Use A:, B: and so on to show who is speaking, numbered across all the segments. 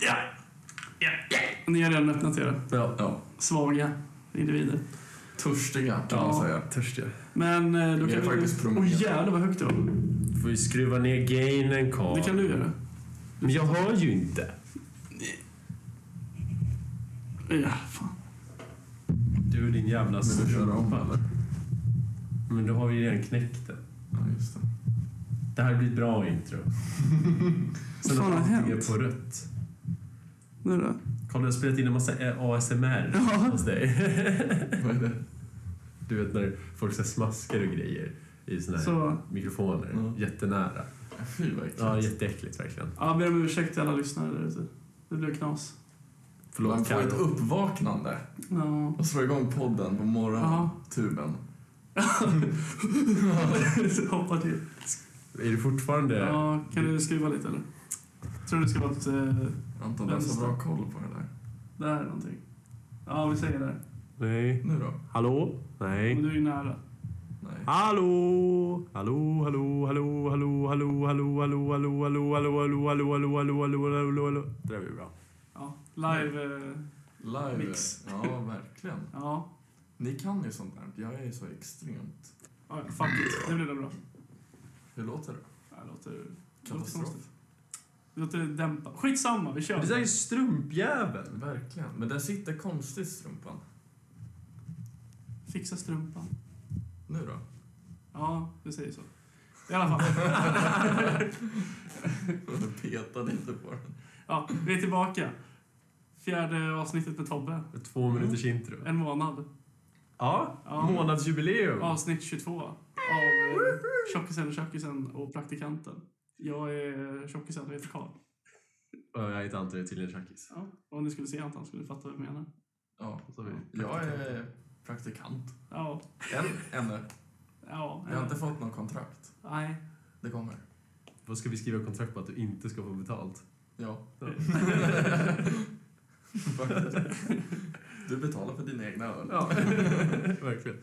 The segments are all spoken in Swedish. A: Ja.
B: Ja.
A: Ni har redan öppnat era
C: Ja.
D: Ja.
A: svaga individer.
C: Törstiga kan
A: Ja.
C: man säga.
D: Törstiga.
A: Men eh, då
D: Vi
A: kan
D: är
A: vi...
D: faktiskt
A: Åh
D: promenerade.
A: jävlar vad högt det var.
C: Får vi skruva ner gainen Karl?
A: Det kan du göra.
C: Men jag hör ju inte.
A: Ja, fan.
C: Du och din jävla
D: Men du kör om
C: strumpa.
D: eller?
C: Men då har vi ju redan knäckt det.
D: Ja, just det.
C: Det här blir ett bra intro.
A: Fan,
C: Sen har
A: vad har
C: allt
A: hänt?
C: är på rött.
A: Nu då?
C: Karl, du har spelat in en massa eh, ASMR
A: Ja.
C: hos dig.
D: Vad är det?
C: Du vet när folk så här smaskar och grejer i såna här
A: Så,
C: mikrofoner.
D: Ja.
C: Jättenära.
D: Fy vad äckligt.
C: Ja, jätteäckligt verkligen.
A: ja, ber om ursäkt till alla lyssnare där ute. Det blev knas.
D: Man
C: Förlåt
D: får ett
C: Carro.
D: uppvaknande
A: Ja.
D: och slår igång podden på
A: Ja.
D: morgontuben.
A: Hoppa till.
C: Är du fortfarande...
A: Ja, kan du skruva lite eller? Tror du det ska vara ett... eh,
D: Anton, du har så
A: Vänster.
D: bra koll på det där.
A: Där är någonting. Ja, vi säger där.
C: Nej.
D: Nu då?
C: Hallå?
A: Men
C: Nej.
A: du är ju nära.
D: Nej.
C: Hallå! Hallå, hallå, hallå, hallå, hallå, hallå, hallå, hallå, hallå, hallå, hallå, hallå, hallå, hallå, hallå, hallå, hallå. Det där blir bra.
A: Ja, live... eh,
D: Live.
A: Mix.
D: Ja, verkligen.
A: Ja.
D: Ni kan ju sånt där. Jag är ju så extremt...
A: ja fuck it. Det blir väl bra.
D: Hur låter det?
A: Ja, Det låter... det låter
D: Katastrof.
A: konstigt. Det låter dämpat. Skitsamma, vi kör.
C: Det där är strumpjäveln.
D: Verkligen. Men den sitter konstigt, strumpan.
A: Fixa strumpan.
D: Nu då?
A: Ja, vi säger så. I alla fall.
D: Du petade inte på den.
A: Ja, vi är tillbaka. Fjärde avsnittet med Tobbe.
C: Två minuters intro.
A: En månad.
C: Ja,
A: Ja.
C: månadsjubileum.
A: Avsnitt 22 av eh, Tjockisen, Tjockisen och Praktikanten. Jag är eh, Tjockisen och heter Karl.
C: Ja, Jag heter Anton, jag är tydligen tjackis.
A: Ja, om ni skulle se Anton skulle ni fatta vad jag menar.
D: Ja.
C: Och så har vi
D: Jag är praktikant.
A: Ja.
D: Än, ännu.
A: Ja.
D: Jag har inte fått något kontrakt.
A: Nej.
D: Det kommer.
C: Vad ska vi skriva kontrakt på att du inte ska få betalt?
D: Ja.
C: Ja.
D: Faktiskt. Du betalar för dina egna öl.
C: Ja, verkligen.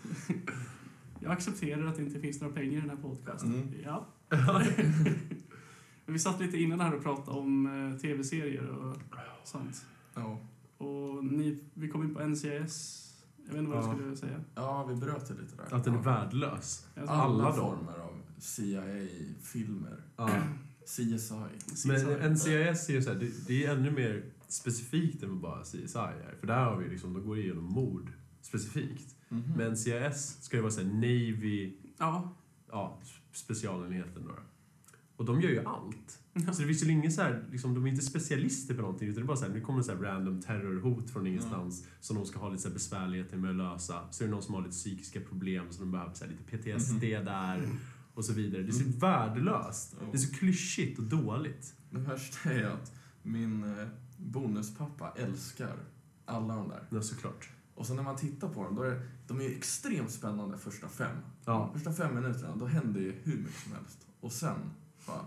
A: Jag accepterar att det inte finns några pengar i den här podcasten.
D: Mm.
A: Ja. Men vi satt lite innan här och pratade om eh, tv-serier och sånt.
D: Ja.
A: Och ni, vi kom in på NCIS. Jag vet inte vad
C: Ja.
A: jag skulle säga.
D: Ja, vi bröt ju lite där.
C: Att den är
D: Ja.
C: värdelös.
A: Jag tror-
D: Alla,
C: Alla dem.
D: former av CIA-filmer.
C: Ja.
D: CSI.
C: Men NCIS är ju så här, det, det är ännu mer specifikt än vad bara CSI är. För där har vi liksom, då går det igenom mord specifikt.
D: Mhm.
C: Men NCIS ska ju vara så här Navy,
A: Ja.
C: ja, specialenheten då. Och de gör ju allt. Så det finns ju ingen så här, liksom, de är inte specialister på någonting utan det är bara så här, nu kommer så här random terrorhot från ingenstans som de ska ha lite så här besvärligheter med att lösa. Så är det någon som har lite psykiska problem så de behöver så här lite PTSD där och så vidare. Det är så värdelöst.
D: Ja.
C: Det är så klyschigt och dåligt.
D: Det värsta är att min eh, bonuspappa älskar alla de där.
C: Ja, såklart.
D: Och sen när man tittar på dem, då är det, de är ju extremt spännande första fem.
C: Ja.
D: Första fem minuterna, då händer ju hur mycket som helst. Och sen bara...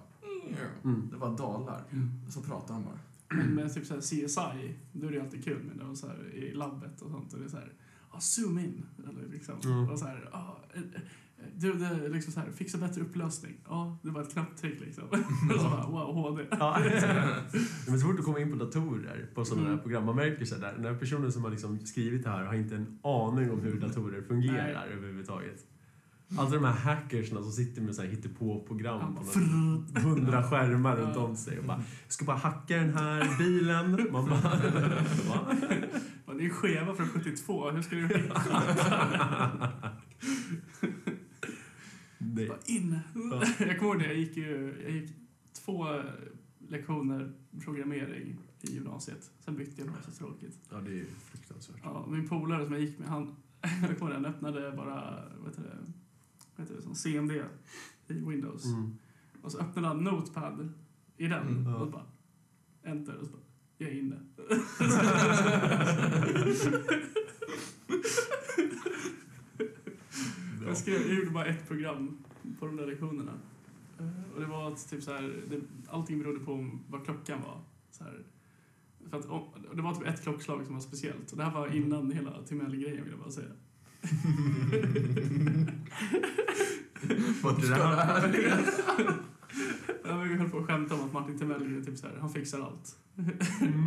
C: Mm.
D: Det bara dalar. Och så pratar de bara.
A: Men med typ så här CSI, då är det ju alltid kul med det. Så här, I labbet och sånt. Och det är så här, ah, zoom in. Eller liksom.
C: Mm.
A: Och så här, ah, eh, eh, du, det, liksom så här, fixa bättre upplösning. Ja, det var ett knapptryck liksom. och så bara, wow, HD.
C: Ja. Men så fort du kommer in på datorer på sådana
A: Mm.
C: här program, man märker så här, där, den här personen som har liksom skrivit det här har inte en aning om
A: Mm.
C: hur datorer fungerar överhuvudtaget. Alla de här hackersna som sitter med så här hittepå-program på något- hundra skärmar runt om sig och bara “Jag ska bara hacka den här bilen”. Man bara Va?
A: Fan, det är skeva från 72. Hur ska du hitta?
C: Nej.
A: Bara in! Jag kommer ihåg det. Jag gick, ju, jag gick två lektioner programmering i gymnasiet. Sen bytte jag gymnasiet, tråkigt.
C: Ja, det är fruktansvärt.
A: Ja, min polare som jag gick med, han, jag kommer ihåg det, han öppnade bara, vad heter det, vad heter det som CMD i Windows.
C: Mm.
A: Och så öppnade han Notepad i den
D: Mm,
C: ja.
A: och så bara, enter, och så bara, jag är inne. Jag skrev, jag gjorde bara ett program på de där lektionerna. Eh, Och det var att typ så här, det, allting berodde på om vad klockan var. Så här, för att, om- och det var typ ett klockslag som var speciellt. Och det här
D: Mm.
A: var innan hela Timell-grejen vill jag bara säga.
D: Vart ska det här?
A: Eh, jag höll på att skämta om att Martin Timell är typ så här, han fixar allt.
C: Mm.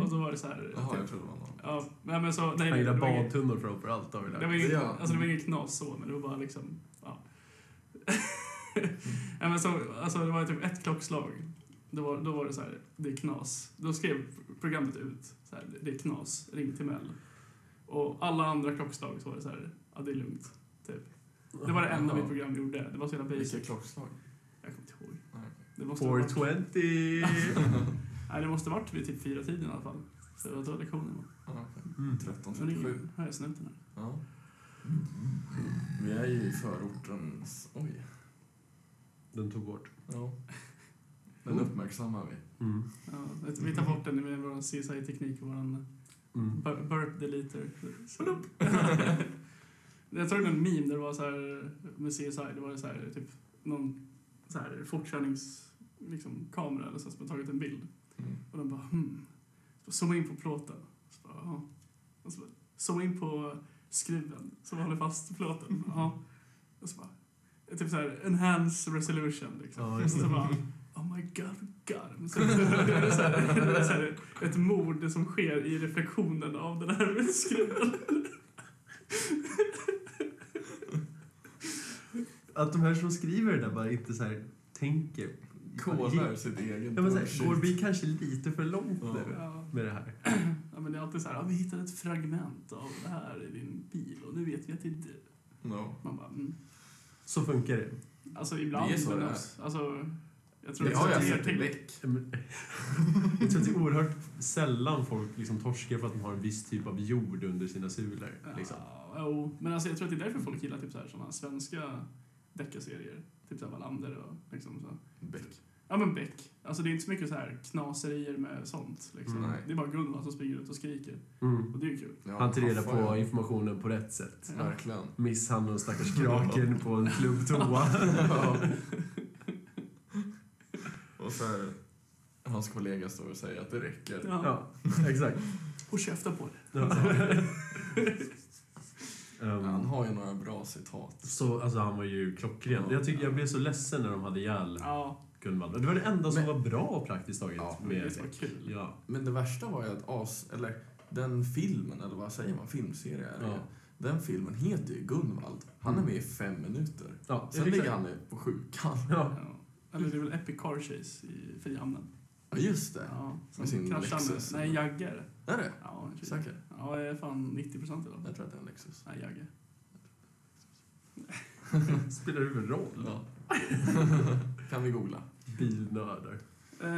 A: och så var det så här...
D: Jaha, jag
A: typ,
D: trodde det var någon.
A: ja, nej, men så, nej,
C: Han
A: Alltså, det,
C: gillar
A: var inget,
C: badtunnor för överallt har vi
A: det, var
C: lärt
A: inget,
D: Ja.
A: alltså, det var inget knas så, men det var bara liksom... Ja.
D: Mm.
A: nej, men så, alltså, det var typ ett klockslag. Då var, då var det så här, det är knas. Då skrev programmet ut, så här, det är knas, ring Timell. Och alla andra klockslag så var det så här, ja det är lugnt. Det var det enda mitt program gjorde. Det var så jävla basic.
D: Vilka klockslag?
A: Jag kommer inte ihåg.
D: Nej.
A: Det måste ha varit-
C: 420!
A: Nej, det måste ha varit vid typ fyra tiden i alla fall. Så det var då lektionen var.
D: Ja, okej.
C: Mm.
D: 13.37.
A: Nu har jag snuten här.
D: Ja. Vi är ju i förortens... Oj.
C: Den tog bort.
D: Ja. Den uppmärksammar vi.
C: Mm.
A: Ja, vi tar bort den med vår CSI-teknik och vår
C: Mm.
A: burp deleter. Så- jag såg en meme där det var så här med CSI, det var så här typ någon så här fortkörnings liksom kamera eller så som har tagit en bild
D: Mm.
A: och den bara hmm. Så zooma in på plåten. Så bara, ja. Och så bara, zooma in på skruven som håller fast plåten. Ja. Och så bara, typ så här enhance resolution liksom.
C: Ja,
A: och
C: just
A: så
C: det.
A: bara, oh my god, we got him. Så, det är så här, det är så här, ett mord som sker i reflektionen av den här skruven.
C: Att de här som skriver det där bara inte så här tänker.
D: Kodar sitt eget
C: Ja, men så
D: bullshit.
C: här, går vi kanske lite för långt
D: Ja.
C: nu
A: Ja.
C: med det här?
A: Ja, men det är alltid så här, ja, vi hittade ett fragment av det här i din bil och nu vet vi att det är du.
D: No.
A: Man bara, mm.
C: Så funkar det.
A: Alltså ibland.
D: Det är så
A: men
D: det är.
A: också- Alltså, jag tror
D: Det
A: det
D: har jag
A: mer
D: sett i
A: till.
D: Beck.
C: Ja, men- Jag tror att det är oerhört sällan folk liksom torskar för att de har en viss typ av jord under sina sulor. Liksom.
A: Ja, jo, men alltså, jag tror att det är därför folk gillar typ så här, såna svenska deckarserier. Typ såhär Wallander och liksom så.
D: Beck.
A: Ja men Beck. Alltså det är inte så mycket så här knaserier med sånt. Liksom.
C: Mm,
D: nej.
A: det är bara Gunvald som springer ut och skriker.
C: Mm.
A: Och det är ju kul.
D: Ja,
C: Han tar reda
D: får
C: på
D: jag.
C: informationen på rätt sätt.
D: Verkligen.
C: Misshandlar den stackars kraken på en klubbtoa.
D: Ja. och så här, hans kollega står och säger att det räcker.
A: Ja.
C: Ja, exakt.
A: Och käften på det.
C: Ja.
D: Han
C: Ehm,
D: har ju några bra citat.
C: så, alltså, han var ju klockren. Jag, tycker, jag blev så ledsen när de hade ihjäl
A: Ja,
C: Gunvald. Och Det var det enda som
D: Men-
C: var bra praktiskt taget.
D: Ja,
A: det är
C: med
A: så kul.
C: Ja.
D: Men det värsta var ju att as, eller den filmen, eller vad säger man, filmserie är det ju.
C: Ja. Mm.
D: Den filmen heter ju Gunvald. Han är med i fem minuter.
C: Ja,
D: Sen
C: exakt.
D: ligger han ju på sjukan.
C: Ja.
A: Ja. Eller det är väl Epic Car Chase i Frihamnen.
D: Ja, just det.
A: Ja,
D: Med sin
A: sen kraschar han
D: Lexus.
A: med... Nej, Jagger.
D: Är det?
A: Ja, jag tror-
D: Säker?
A: ja, jag är fan 90 procent i alla fall.
D: Jag tror att det är en Lexus.
A: Nej, Jagger.
C: Spelar det väl roll?
D: Ja. kan vi googla?
C: Bilnördar.
A: Eh,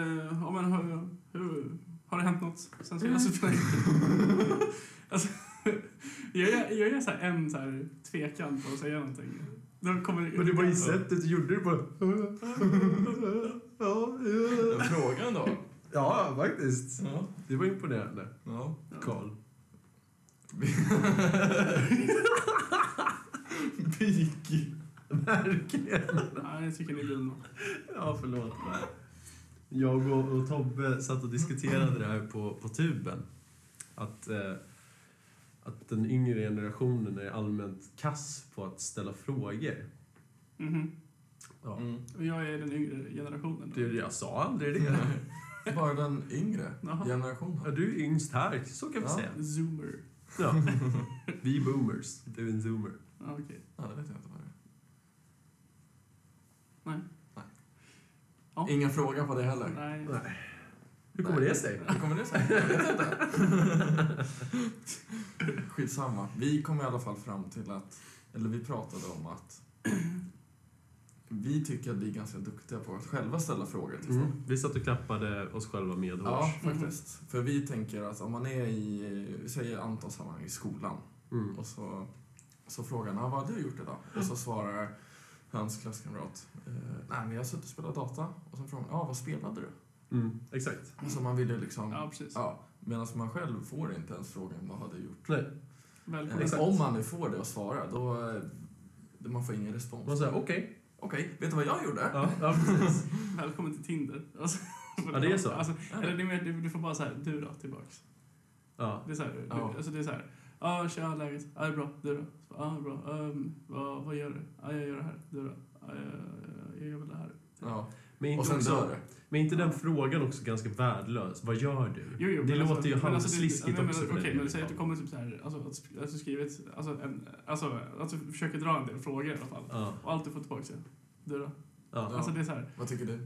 A: ja, men har, hur, har det hänt något sen senast? för dig? alltså, jag, jag, jag är så här en så här tvekan på att säga någonting. Då kommer
C: Men det var ju sättet du gjorde det bara... Ja, ja.
D: Frågan då?
C: ja, faktiskt.
D: Ja.
C: Det var imponerande,
D: ja.
C: Karl.
D: Pik.
C: Verkligen.
A: Nej, jag tycker ni är grymma.
C: Ja, förlåt. Jag och, och Tobbe satt och diskuterade det här på, på tuben. Att, eh, att den yngre generationen är allmänt kass på att ställa frågor.
A: Mhm.
C: Ja.
D: Mm.
A: Och jag är den yngre generationen. då.
C: Det, jag sa aldrig det.
D: Bara den yngre
A: Jaha.
C: Ja,
D: generationen.
C: du är yngst här, så kan vi
D: Ja.
C: säga.
A: Zoomer.
C: Ja. Vi är boomers, du är en zoomer.
A: Ja, okej.
D: Ja, det vet jag inte vad det är.
A: Nej.
D: Nej.
A: Ja.
D: Inga frågor på det heller.
A: Nej.
C: Nej. Hur kommer det sig?
D: Hur kommer det sig? Jag vet inte. Skitsamma. Vi kom i alla fall fram till att, eller vi pratade om att vi tycker att vi är ganska duktiga på att själva ställa frågor till folk.
C: Mm. Vi satt och klappade oss själva med
D: Ja,
C: hårs.
D: faktiskt. För vi tänker att om man är i, vi säger antal sammanhang i skolan
C: Mm.
D: och så, så frågar han "Ah, vad har du gjort idag? Och så svarar hans klasskamrat eh, nej men jag har suttit och spelat data. Och så frågar man ja vad spelade du?
C: Mm. Exakt.
D: Och så man vill ju liksom
A: Ja, precis.
D: Ja, medan man själv får inte ens frågan vad har du gjort?
C: Nej.
A: Välkommen.
D: Men
C: Exakt.
D: om man nu får det och svarar, då... eh, Man får ingen respons.
C: Man säger
D: Okej,
C: okej.
D: vet du vad jag gjorde?
C: Ja, ja, precis.
A: Välkommen till Tinder. Alltså,
C: Ja, det är så.
A: Alltså,
D: Ja.
A: eller det är mer, du, du får bara så här, du då, tillbaks.
C: Ja.
A: Det är så här, du,
D: Ja.
A: alltså det är så här. Ja, tja, läget? Ja, det är bra. Du då? Så, Ja, det är bra. Ehm, vad, vad gör du? Ja, jag gör det här. Du då? Ja, jag, jag gör väl det här.
D: Ja.
C: Men, inte
D: Och sen
C: också,
D: dör det.
C: men inte den frågan också ganska värdelös? Vad gör du?
A: Jo, jo,
C: det
A: men
C: låter
A: alltså-
C: ju
A: men alltså,
C: halvsliskigt
A: det- men-
C: också.
A: men-
C: för liksom. den
A: Okej,
C: delen.
A: men säg att du kommer typ så här, alltså att sk- alltså skrivet, alltså, en, alltså att du försöker dra en del frågor i alla fall.
C: Ja,
A: Och allt du får tillbaka är, du då?
C: ja.
A: Alltså det är så här,
D: Vad tycker du?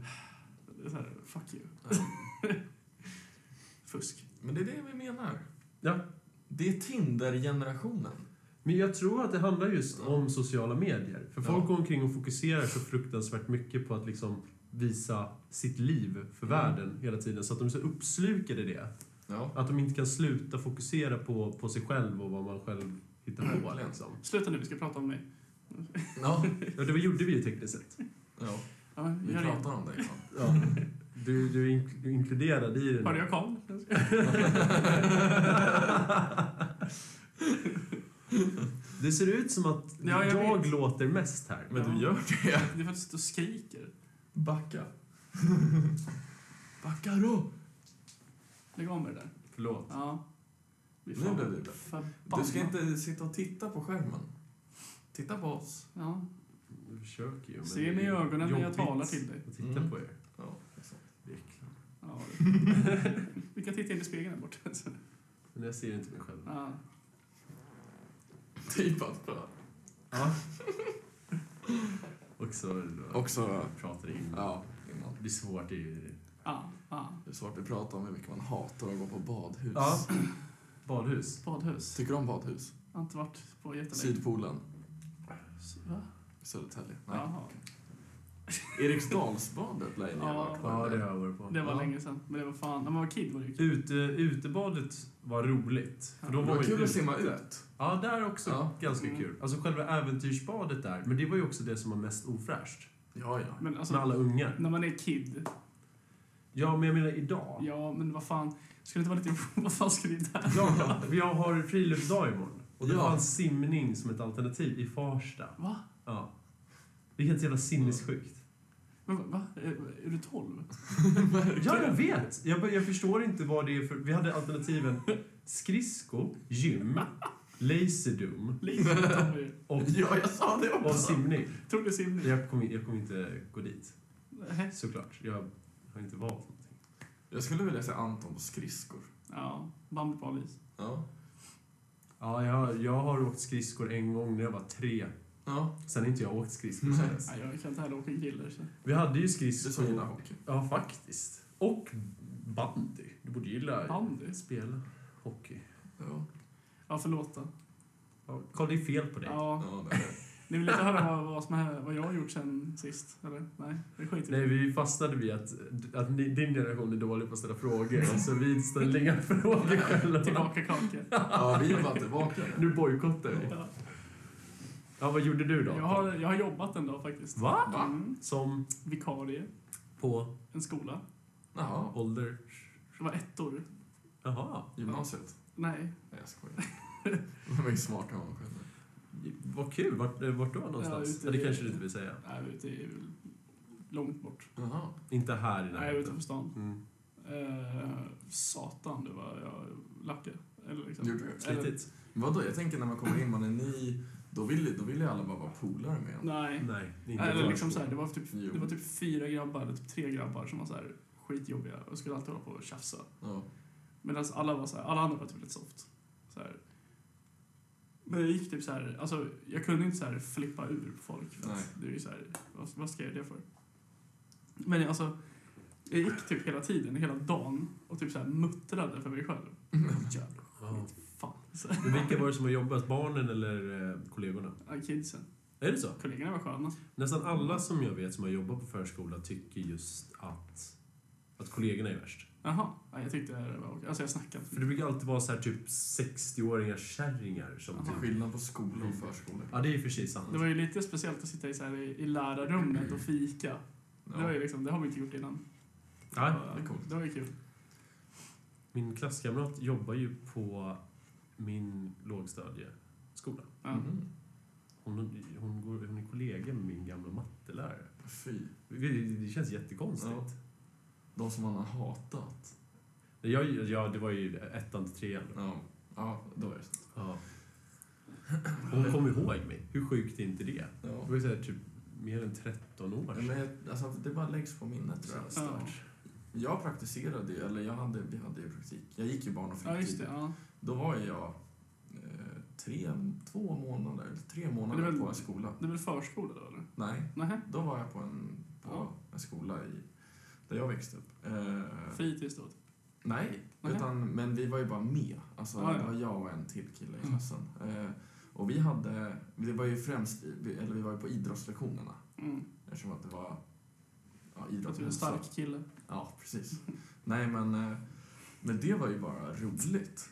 A: det är så här fuck you. Fusk.
D: Men det är det vi menar.
C: Ja.
D: Det är Tinder-generationen.
C: Men jag tror att det handlar just
D: Ja.
C: om sociala medier.
D: Ja.
C: För folk går omkring och fokuserar så fruktansvärt mycket på att liksom visa sitt liv för
D: Mm.
C: världen hela tiden. Så att de är så uppslukade i det.
D: Ja.
C: Att de inte kan sluta fokusera på, på sig själv och vad man själv hittar på.
D: Verkligen.
C: Liksom.
A: Sluta nu, vi ska prata om mig.
D: Ja.
C: Ja, det gjorde vi ju tekniskt sett.
D: ja.
A: Ja, men,
D: Vi
A: gör det.
D: pratar om dig. ja.
C: Ja. Du, du är ink- inkluderad i det.
A: Hörde jag Karl?
C: Det ser ut som att
A: Ja, jag
C: jag,
A: vet.
C: låter mest här.
D: Men
A: Ja.
D: du gör det.
A: Det är faktiskt du skriker.
D: Backa. Backa då!
A: Lägg av med det där.
C: Förlåt.
A: Ja. Fy
D: Nu
A: fan.
D: blev det det.
A: Förbannat.
D: Du ska inte sitta och titta på skärmen. Titta på oss.
A: Ja.
C: Jag försöker ju. men det
A: Se
C: är
A: mig i ögonen när jag
C: jobbigt
A: talar till dig.
C: att titta
D: Mm.
C: på er.
D: Ja, liksom.
C: Det är äckligt.
A: Ja. vi kan titta in i spegeln där borta. Så,
C: Men jag ser inte mig själv.
A: Ja.
D: typ att prata.
C: Ja. Och så
D: Också,
C: pratar in.
D: ja, innan.
C: Det blir svårt. I
A: Ja. Ja.
D: Det är svårt att prata om hur mycket man hatar att gå på badhus.
C: Ja. badhus.
A: Badhus.
D: Tycker du om badhus?
A: Jag har inte varit på jättelänge.
D: Sydpolen,
A: Va?
D: Södertälje. Nej.
A: Jaha.
D: Eriksdalsbadet lär ju ni ha varit på.
C: Ja, eh, det har jag varit på.
A: Det var
D: Ja.
A: länge sedan. Men det var fan, när man var kid var det ju kul.
C: Ute, utebadet var roligt. För då
D: Det
C: var
D: var
C: vi
D: kul att
C: ute.
D: simma ut.
C: Ja, där också
D: Ja.
C: ganska
A: Mm.
C: kul. Alltså själva äventyrsbadet där, men det var ju också det som var mest ofräscht.
D: Ja, ja.
A: Men
C: med
A: alltså,
C: alla ungar.
A: när man är kid.
C: Ja, men jag menar idag.
A: Ja, men vad fan. Ska det inte vara lite... Vad fan ska det där?
C: Ja, vi har friluftsdag imorgon. Och det
D: Ja.
C: fanns simning som ett alternativ i Farsta.
A: Va?
C: Ja. Vilket jävla sinnessjukt.
A: Men va? va? Är, är du 12?
C: Ja, jag vet. Jag, bara- jag förstår inte vad det är för... Vi hade alternativen skridsko, gym, laserdum
A: Lite tar vi.
C: och,
D: Ja, jag sa det
C: och
D: också.
C: simning.
A: Tror du simning?
C: Jag kommer jag kommer inte gå dit,
A: Nej.
C: såklart. Jag har inte valt någonting.
D: Jag skulle vilja se Anton på skridskor.
A: Ja, bandet på hal is.
D: Ja.
C: Ja, jag, jag har åkt skridskor en gång när jag var tre.
D: Ja.
C: Sen har inte jag åkt skridskor
D: Nej.
C: sen dess.
A: Nej, jag kan inte heller åka en killer. Så.
C: Vi hade
D: Du
C: ju
D: som gillar
C: skridskor.
D: hockey.
C: Ja, faktiskt. Och bandy. Du borde gilla
A: Bandy?
C: spela hockey.
D: Ja.
A: Ja, förlåt då.
C: Ja, Karl, det är fel på dig.
A: Ja.
D: Ja, det är det.
A: Ni vill inte höra vad, vad, som är, vad jag har gjort sen sist? Eller? Nej, det skiter vi i.
C: Nej, vi fastnade vid att, att ni, din generation är dålig på att ställa frågor. så vi ställer inga frågor själva.
A: Tillbaka kaka.
D: ja, vi var tillbaka.
C: Nu bojkottar vi.
A: Ja.
C: Ja, vad gjorde du då?
A: Jag har, jag har jobbat en dag faktiskt.
C: Va?
D: Va?
A: Mm.
C: Som
A: Vikarie,
C: på
A: en skola.
D: Jaha,
C: ålder...
A: Det var ettor.
C: Jaha.
D: gymnasiet.
A: Nej,
D: Nej, jag skojar. De är ju smartare än vad man själv är.
C: Vad kul. Vart, eh, vart då någonstans?
A: ute
C: Ja, det
A: i-
C: kanske du inte vill säga.
A: nej det är väl långt bort.
D: Jaha.
C: Inte här i
A: Nej,
C: närheten.
A: utanför stan.
C: Mm.
A: Eh, satan, det var jag lackade. Eller liksom.
D: Gjorde du?
A: Eller-
C: Slitigt?
D: Vadå, jag tänker när man kommer in, man är ny, då vill ju då vill ju alla bara vara polare med en.
A: Nej.
C: Nej. Inte
A: Eller
C: vår
A: liksom så
C: skola.
A: här, det var typ
D: Jo.
A: Det var typ fyra grabbar, eller typ tre grabbar som var så här skitjobbiga och skulle alltid hålla på och tjafsa.
D: Ja.
A: Medan alla var så här, alla andra var typ rätt soft. Så här. Men jag gick typ så här, alltså jag kunde inte så här flippa ur på folk. För
D: Nej.
A: att det är ju så här, vad, vad ska jag göra det för? Men alltså, jag gick typ hela tiden, hela dagen och typ så här muttrade för mig själv. Jävla
C: Ja.
A: fan. Så,
C: Men vilka var det som har jobbat? Barnen eller eh, kollegorna?
A: ja, kidsen.
C: Är det så?
A: Kollegorna var sköna.
C: Nästan alla som jag vet som har jobbat på förskola tycker just att, att kollegorna är värst.
A: Jaha, ja, jag tyckte det var okej. Alltså jag snackade inte.
C: För det brukar alltid vara så här typ 60-åringar kärringar som
D: Till
C: typ...
D: skillnad på skola och förskola.
C: Ja, det är ju för sig sant.
A: Det var ju lite speciellt att sitta i, så här, i, i lärarrummet och fika. Det, var ju liksom, det har man inte gjort innan.
C: Nej,
A: Ja,
D: det är coolt.
A: Det var ju kul.
C: Min klasskamrat jobbar ju på min lågstadieskola.
A: Ja.
D: Mhm.
C: Hon, hon, går, hon är kollega med min gamla mattelärare.
D: Fy.
C: Det, det känns jättekonstigt.
D: Ja. De som man har hatat.
C: Nej, Jag, ja, det var ju ettan till trean.
D: Ja, ja då är det sant.
C: Ja. Hon kom ihåg mig. Hur sjukt är inte det? Det
D: Ja.
C: var ju så här, typ mer än 13 år
D: Men jag- alltså, det bara läggs på minnet tror jag.
A: Ja.
D: Jag praktiserade ju, eller jag hade, vi hade ju praktik. Jag gick ju barn och
A: Ja, just
D: fritid.
A: det. Ja.
D: Då var ju jag eh, tre, två månader, eller tre
A: Men det
D: månader
A: är väl-
D: på en skola.
A: Det är väl förskola då, eller?
D: Nej,
A: Nej.
D: då var jag på en, på
A: Ja.
D: en skola i, där jag växte upp. Eh,
A: Fritids då? typ.
D: Nej,
A: Nähä.
D: utan, men vi var ju bara med. Alltså,
A: Ah, ja.
D: Det var jag och en till kille i
A: Mm.
D: klassen. Eh, och vi hade, det var ju främst, i- vi- eller vi var ju på idrottslektionerna
A: Mm.
D: eftersom att det var ja,
A: För
D: idrott.
A: att du är en stark kille.
D: Ja, precis. Nej, men, eh, men det var ju bara roligt.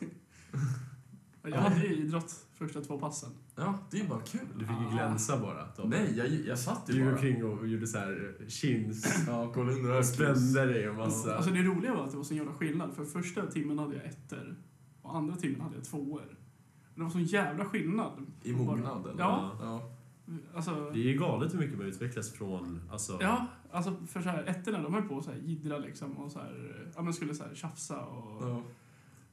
A: Ja, Jag hade ju idrott första två passen.
D: Ja, det är ju bara kul.
C: Du fick ju glänsa bara. Tom.
D: Ah. Nej, jag, jag satt
C: Du
D: ju
C: gick
D: bara.
C: omkring och gjorde så här eh, chins
D: Ja, kolla under
C: och
D: öronen.
C: spände dig och massa.
A: Alltså det roliga var att det var så jävla skillnad. För första timmen hade jag ettor och andra timmen hade jag tvåor. Det var så jävla skillnad.
D: I mognad, eller?
A: Ja.
D: ja.
A: Alltså,
C: Det är ju galet hur mycket man utvecklas från... Alltså,
A: ja, alltså för så här, ettorna de höll på att så här jiddra liksom och så här, ja men skulle så här tjafsa och, och
D: ja.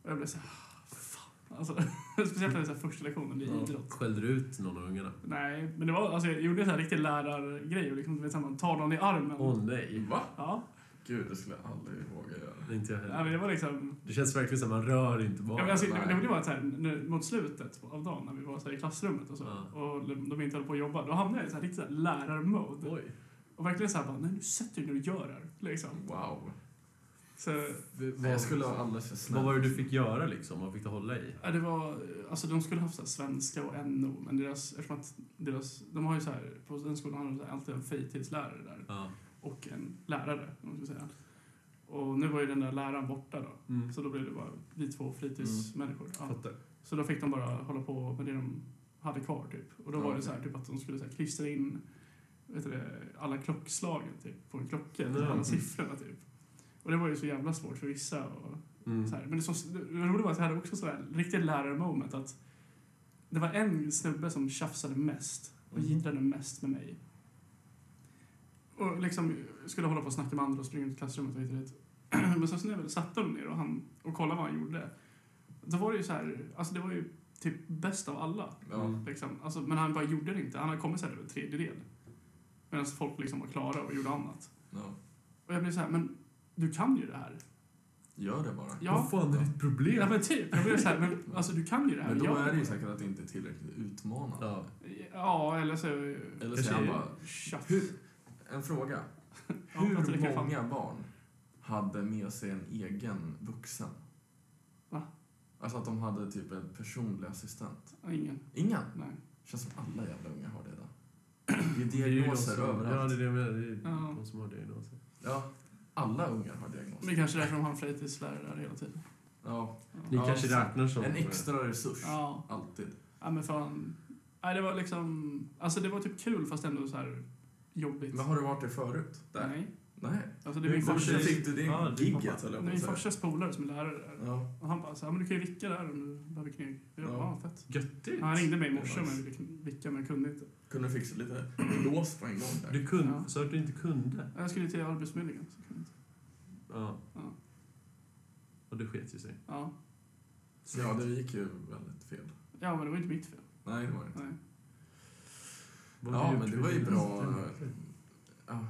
A: jag blev så här, "Ah, fan. Alltså, speciellt när det är så här första lektionen i
D: Ja.
A: idrott.
C: Skällde du ut någon av ungarna?
A: Nej, men det var, alltså jag gjorde en så här riktig lärargrej och liksom, du vet, så här, man tar någon i armen.
C: Åh nej.
D: Va?
A: Ja,
D: Gud, det skulle jag aldrig våga göra.
C: Inte jag
A: nej, men
C: heller.
A: det var liksom
C: Det känns verkligen som att man rör inte
A: Ja,
C: barn.
A: men alltså, det, det
D: nej.
A: det var så här, när, mot slutet av dagen när vi var så här, i klassrummet och så
C: Ja.
A: och de de inte höll på att jobba, då hamnade jag i så här, riktigt så här, lärarmode.
C: Oj.
A: Och verkligen så här, bara, nej nu sätter du dig och gör det här. Liksom.
D: Wow.
A: Så,
D: Nej, jag skulle ha alldeles för snäll.
C: Vad var det du fick göra liksom? Vad fick du hålla i?
A: ja, det var, alltså de skulle haft så här, svenska och NO, men deras, eftersom att deras, de har ju så här, på den skolan har de så här, alltid en fritidslärare där
C: Ja.
A: och en lärare, om man ska säga. Och nu var ju den där läraren borta då,
C: Mm.
A: så då blev det bara vi två fritidsmänniskor.
D: Mm.
A: Ja.
C: Fattar.
A: Så då fick de bara hålla på med det de hade kvar typ. Och då
D: Ja,
A: var det
D: okej.
A: så här, typ att de skulle så här, klistra in vet du, det, alla klockslagen typ, på en klocka,
C: Mm.
A: typ, alla siffrorna typ. Och det var ju så jävla svårt för vissa. Och,
C: Mm.
A: så här. Men det, som, det roliga var att jag hade också så här riktigt lärarmoment att det var en snubbe som tjafsade mest och
D: Mhm.
A: jiddrade mest med mig. Och liksom skulle hålla på och snacka med andra och springa ut i klassrummet och hit och dit. Men sen så när jag väl satte honom ner och, han, och kollade vad han gjorde. Då var det ju så här, alltså det var ju typ bäst av alla.
C: Mm.
D: Ja.
A: Liksom. Alltså, men han bara gjorde det inte. Han hade kommit så här över en tredjedel. Medan folk liksom var klara och gjorde annat.
D: ja.
A: Och jag blev så här, men du kan ju det här.
D: Gör det bara.
A: Ja.
C: Vad fan är ditt problem?
A: Ja men typ, jag blev så här, men alltså du kan ju det här.
D: Men då
A: Jag-
D: är det ju säkert att det inte är tillräckligt utmanande.
C: Ja.
A: Ja, eller så...
D: Eller så är han bara...
A: Tjaff.
D: Hur, en fråga.
A: Ja, jag tror det kan
D: Hur
A: fan-
D: många barn hade med sig en egen vuxen?
A: Va?
D: Alltså att de hade typ en personlig assistent.
A: Ja, Ingen.
D: Ingen?
A: Nej.
D: känns som alla jävla unga har det idag. Det är
C: Det är ju de
D: diagnoser
C: som- Ja, det är
D: överallt.
C: det jag menar. Det är
A: Ja.
C: de som har diagnoser.
D: Ja, alla ungar har
A: Men
D: diagnoser.
A: kanske därför de har en fritidslärare där hela tiden.
D: Ja,
C: Ni
A: Ja.
D: Ja,
C: kanske
D: så-
C: räknar som...
D: en extra resurs.
A: Ja.
D: Alltid.
A: ja, men fan. Nej, det var liksom... Alltså det var typ kul fast ändå så här jobbigt.
D: Men har du varit det förut? Där?
A: Nej.
D: Nej.
A: Alltså det
D: Hur
A: är min
C: kommer
A: farsas...
D: hur
C: sig-
D: fick du det
C: Ja, din
D: gigget, höll
C: pappa.
A: Det är
D: jag på
A: min
D: att säga.
A: farsas polare som är lärare där.
D: Ja.
A: Och han bara så här, men du kan ju vicka där om du behöver kneg. Jag bara,
D: Ja.
A: ja, fett.
C: Göttigt.
A: Han ringde mig i morse
D: Det är
A: om jag
D: nice.
A: ville kn- vicka men jag kunde inte.
D: Kunde fixa lite lås på en gång där.
C: Du kunde...
A: Ja.
C: Sa att du inte kunde?
A: Jag skulle till Arbetsförmedlingen så kunde jag inte.
C: Ja.
A: Ja.
C: Och det sket ju sig.
A: Ja.
D: Ja, det gick ju väldigt fel.
A: ja, men det var inte mitt fel.
D: Nej, det var det inte.
A: Nej.
C: Vad
D: Ja,
C: vi
D: men det
C: gjort
D: var ju
C: med
D: bra.
C: resten.
D: Ja,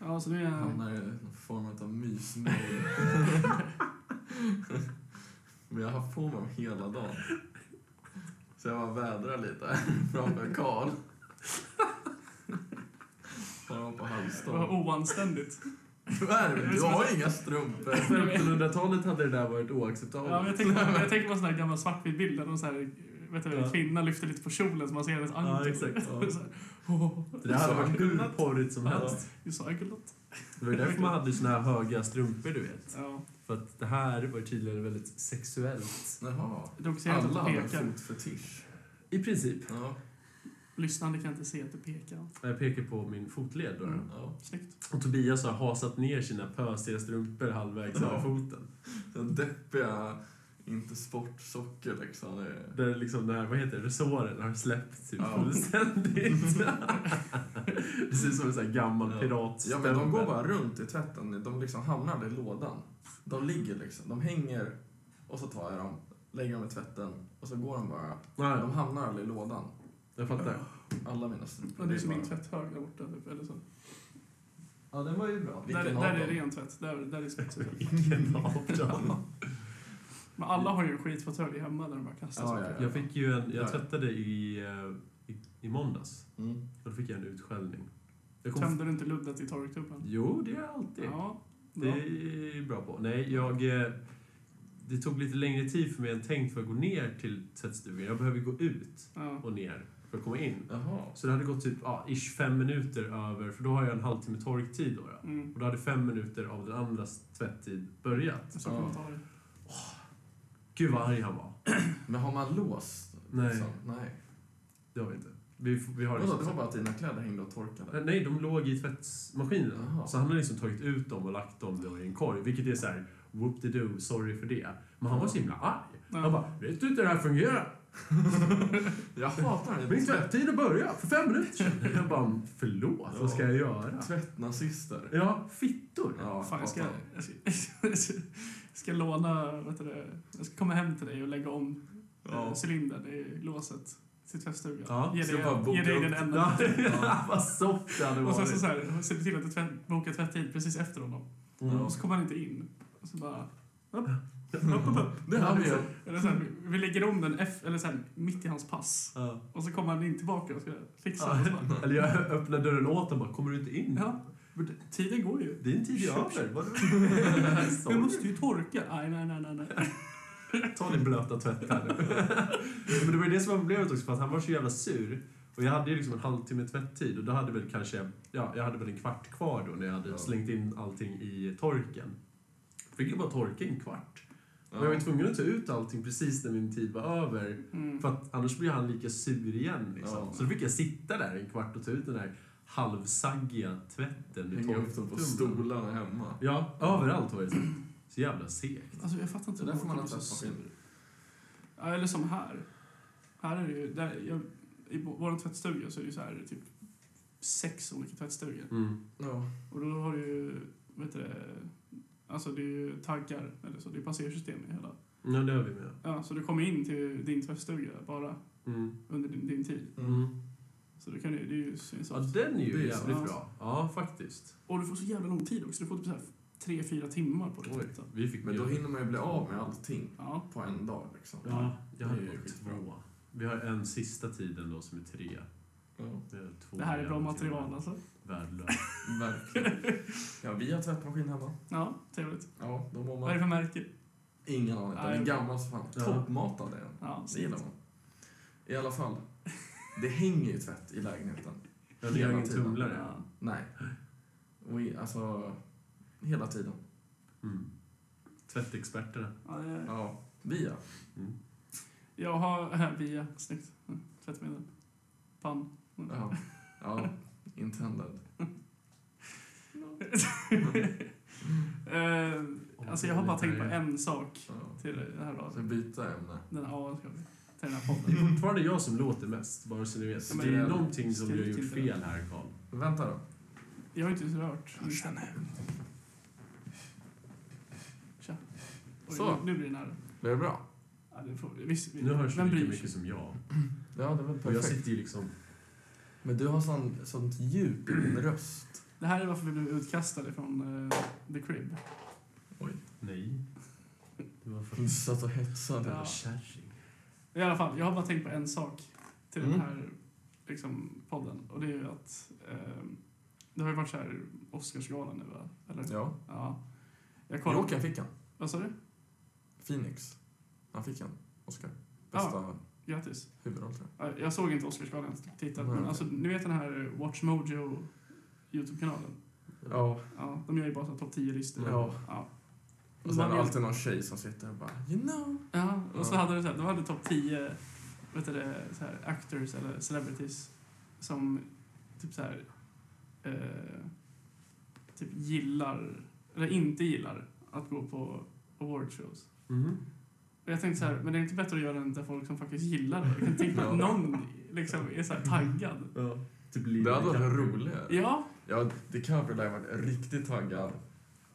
A: Ja, så nu är
D: jag
A: jag...
D: hamnar i någon form av mysmejl. Men jag har haft på mig dem hela dagen. Så jag bara vädrar lite framför Karl. Han var på
A: Det var
D: halvstång.
A: oanständigt.
D: Du är det? Du har inga strumpor.
C: 1500-talet hade det där varit
A: Ja,
C: oacceptabelt.
A: men jag tänker jag tänker på en sån här gammal svartvit bild där någon så här, vet du,
C: Ja.
A: en kvinna lyfter lite på kjolen så man ser hennes ankel.
C: Ja, exakt.
A: Så här, "Åh,
C: Det där hade varit hur porrigt som helst.
A: you cycle lot."
C: Det var ju därför man hade såna här höga strumpor, du vet.
A: Ja.
C: För att det här var tydligen väldigt sexuellt.
D: Jaha.
A: Det är också jävligt
D: Alla
A: att
D: hade en
A: peka.
D: fotfetisch.
C: I princip.
D: Ja.
A: Lyssnande kan inte se att du pekar.
C: Jag pekar på min fotled då.
A: Mm.
D: ja.
A: Snyggt.
C: Och Tobias har hasat ner sina pösiga strumpor halvvägs över
D: Ja.
C: foten.
D: Den deppiga, inte sportsocker liksom. Det är-
C: Där liksom den här, vad heter det, resåren har släppt typ
D: Ja.
C: fullständigt. det ser ut som en sån här gammal
D: Ja. Ja,
C: piratstämpel.
D: men de går bara runt i tvätten. De liksom hamnar där i lådan. De ligger liksom. De hänger och så tar jag dem, lägger dem i tvätten och så går de bara.
C: Nej,
D: De hamnar aldrig i lådan.
C: jag fattar.
D: Alla mina
A: Ja,
D: strumpor.
A: det är som
D: bara-
A: min tvätthög där borta. Typ, eller så.
B: Ja, den var ju bra.
A: Där,
D: Vilken av
A: där är
D: dem?
A: ren tvätt. Där, där är smutsig tvätt.
C: Vilken av dem?
A: Men alla har ju en skittvätthög hemma där de bara kastar
D: Ja,
A: saker.
D: ja, ja.
C: Jag fick ju en,
D: Ja.
C: jag tvättade i, eh, i, i måndags.
D: Mm.
C: Och då fick jag en utskällning. Jag kom-
A: Tömde du inte luddet i torktumlaren?
C: Jo, det gör jag alltid.
A: Ja.
C: Det
A: bra.
C: är jag bra på. Nej, jag... eh, Det tog lite längre tid för mig än tänkt för att gå ner till tvättstugan. Jag behöver gå ut
A: Ja.
C: och ner för att komma in.
D: Jaha.
C: Så det hade gått typ ja, ish fem minuter över, för då har jag en halvtimme torktid. Då, då.
A: Mm.
C: Och då hade fem minuter av den andras tvätttid börjat.
A: Så kan man ta det.
C: Gud vad arg han var.
D: Men har man lås?
C: Nej.
D: Så, nej.
C: Det har vi inte. Vi, f- vi har
D: Vadå,
C: liksom-
D: det var bara typ- att dina kläder hängde och torkade?
C: Nej, de låg i tvättmaskinen.
D: Jaha.
C: Så han har liksom tagit ut dem och lagt dem då i en korg. Vilket är så här, whoop de do sorry för det. Men han var så himla arg.
A: Ja.
C: Han bara, vet du inte hur det här fungerar?
D: Jag hatar det.
C: Min tvätttid har börjat för fem minuter sedan. Jag bara, förlåt, vad ska jag göra?
D: Tvättnazister.
C: Ja, fittor.
D: Ja,
A: Fan, jag ska,
D: hatar det.
A: jag ska, jag ska, jag ska låna, vet du, det, jag ska komma hem till dig och lägga om
D: Ja.
A: ja. cylindern i låset till tvättstugan.
C: Ja,
A: ge
D: så
A: dig,
D: bara boka
A: ge dig
D: upp.
A: den
C: Ja,
A: enda.
C: ja, vad soft det hade
A: Och
C: varit.
A: sen så, så här, ser du till att du tvätt, bokar tvättid precis efter honom.
C: Mm.
A: Och så kommer han inte in. Och så bara...
D: Det hade vi ju.
A: Eller så här, vi lägger om den F, eller så här, mitt i hans pass.
C: Ja.
A: Och så kommer han in tillbaka och ska fixa.
C: Ja.
A: Och så bara, "Mm."
C: Eller jag öppnar dörren åt och bara, kommer du inte in?
A: ja, men det- tiden går ju.
C: Din tid är över. Vad du-
A: Vi
C: Sorry.
A: måste ju torka. Nej, nej, nej, nej. nej.
C: Ta din blöta tvätt här nu. Men det var ju det som var problemet också, för att han var så jävla sur. Och jag hade ju liksom en halvtimme tvätttid och då hade väl kanske, ja, jag hade väl en kvart kvar då när jag hade
D: Ja.
C: slängt in allting i torken. Fick ju bara torka en kvart. Men jag var
D: Ja.
C: ju tvungen att ta ut allting precis när min tid var över.
A: Mm.
C: För att annars blir han lika sur igen liksom.
D: Ja.
C: Så då fick jag sitta där en kvart och ta ut den där halvsaggiga tvätten i
D: Hänga upp dem på
C: torktumlaren.
D: stolarna hemma.
C: Ja, överallt var det så. Så jävla segt.
A: Alltså, jag fattar inte
D: Det där
A: hur
D: får
A: man
D: man ha
A: kan bli så
D: tvättmaskin.
A: sur. Ja, eller som här. Här är det ju, där, jag, I vår tvättstuga så är det ju så här, typ sex olika tvättstugor.
C: Mm.
D: Ja.
A: Och då har du ju, vet du det, alltså det är ju taggar eller så, det är passersystem i hela.
C: Ja, det har vi med.
A: Ja, så du kommer in till din tvättstuga bara
C: Mm.
A: under din, din tid.
C: Mm.
A: Så det, kan, ju- det är ju så
C: Ja,
A: insatt.
C: den är ju
D: Det är
C: jävligt
A: sant.
C: bra. Ja, faktiskt.
A: Och du får så jävla lång tid också, du får typ så här tre, fyra timmar på dig att
C: Oj,
A: tvätta.
C: vi fick
D: Men då hinner man ju bli av med allting
A: Ja.
D: på en dag. Liksom.
C: Ja, jag
D: Det är
C: hade
D: ju
C: bara
D: skitbra.
C: två. Vi har en sista tiden då som är tre.
D: Ja,
C: Vi har två
A: Det här är bra
C: jävla
A: material
C: timmar.
A: alltså.
C: Värdelöst.
D: verkligen. Ja, vi har tvättmaskin hemma.
A: Ja, trevligt.
D: Ja, då mår
A: Vad är det
D: man...
A: för märke?
D: Ingen aning. Den är
A: Nej.
D: gammal som fan.
C: Ja.
D: Toppmatad är den.
A: Ja,
D: Det gillar man. I alla fall, det hänger ju tvätt i lägenheten.
C: Jag har
D: Hela
C: ingen
D: tiden.
C: tumlare.
A: Ja.
D: Nej. Och i, alltså, hela tiden.
C: Mm. Tvättexperterna.
A: Ja, det är-
D: Ja, vi ja.
C: Mm.
A: Jag har här via, snyggt. Mm, Tvättmedel. Pann. Mm.
D: Ja, ja intended.
A: Eh, alltså jag har bara tänkt på en sak
D: Ja.
A: till det här då.
D: Så byta ämne.
A: Den här, ja, ska vi, till den här
C: Det är
A: podden.
C: fortfarande jag som låter mest, bara så ni vet.
A: Ja, men-
C: det är någonting som du har
A: Skrik
C: gjort
A: inte.
C: fel här, Karl.
D: Men Vänta då.
A: Jag har inte ens rört. Tja. Oj,
D: Så.
A: Nu, nu blir det nära.
D: Blev det bra?
A: Ja, det får, visst, vi,
C: Nu hörs
A: vem
C: du
A: bryr
C: lika
A: sig?
C: mycket som jag.
D: Ja, det var
C: Och jag
D: perfekt.
C: sitter ju liksom...
D: Men du har sån, sånt djup i din röst.
A: Det här är varför vi blev utkastade från eh, The Crib.
C: Nej. Det var
D: Du
C: för...
D: satt och hetsade.
A: Ja.
C: Kärring.
A: I alla fall, jag har bara tänkt på en sak till
D: Mm.
A: den här liksom, podden. Och det är ju att ehm, det har ju varit så här Oscarsgalan nu va? Eller?
D: Ja.
A: Ja. Jag kollar.
D: Joker fick han.
A: Vad sa du?
D: Phoenix. Han fick en Oscar. Bästa
A: Grattis.
D: huvudroll, tror
A: Ja, Jag såg inte Oscarsgalan, jag tittade.
D: Nej,
A: Men
D: Mm, okej.
A: alltså, ni vet den här WatchMojo YouTube-kanalen?
D: jag. Ja.
A: Ja, de gör ju bara så här topp 10-listor.
D: Ja.
A: Ja.
D: Och sen
A: Man-
D: alltid någon tjej som sitter och bara You know.
A: Ja, och så
D: Ja.
A: hade de så här, de hade topp 10 vet du det, så här, actors eller celebrities som typ så här eh, typ gillar eller inte gillar att gå på awardshows.
C: Mhm.
A: Och jag tänkte så här, men det är inte bättre att göra det än till folk som faktiskt gillar det. Jag kan tänka mig att
D: Mm. Ja.
A: någon liksom är så här taggad.
C: Ja. Typ
D: Det hade
C: Leonardo
D: varit
C: DiCaprio.
D: roligare.
A: Ja,
D: Ja, DiCaprio lär ha varit riktigt taggad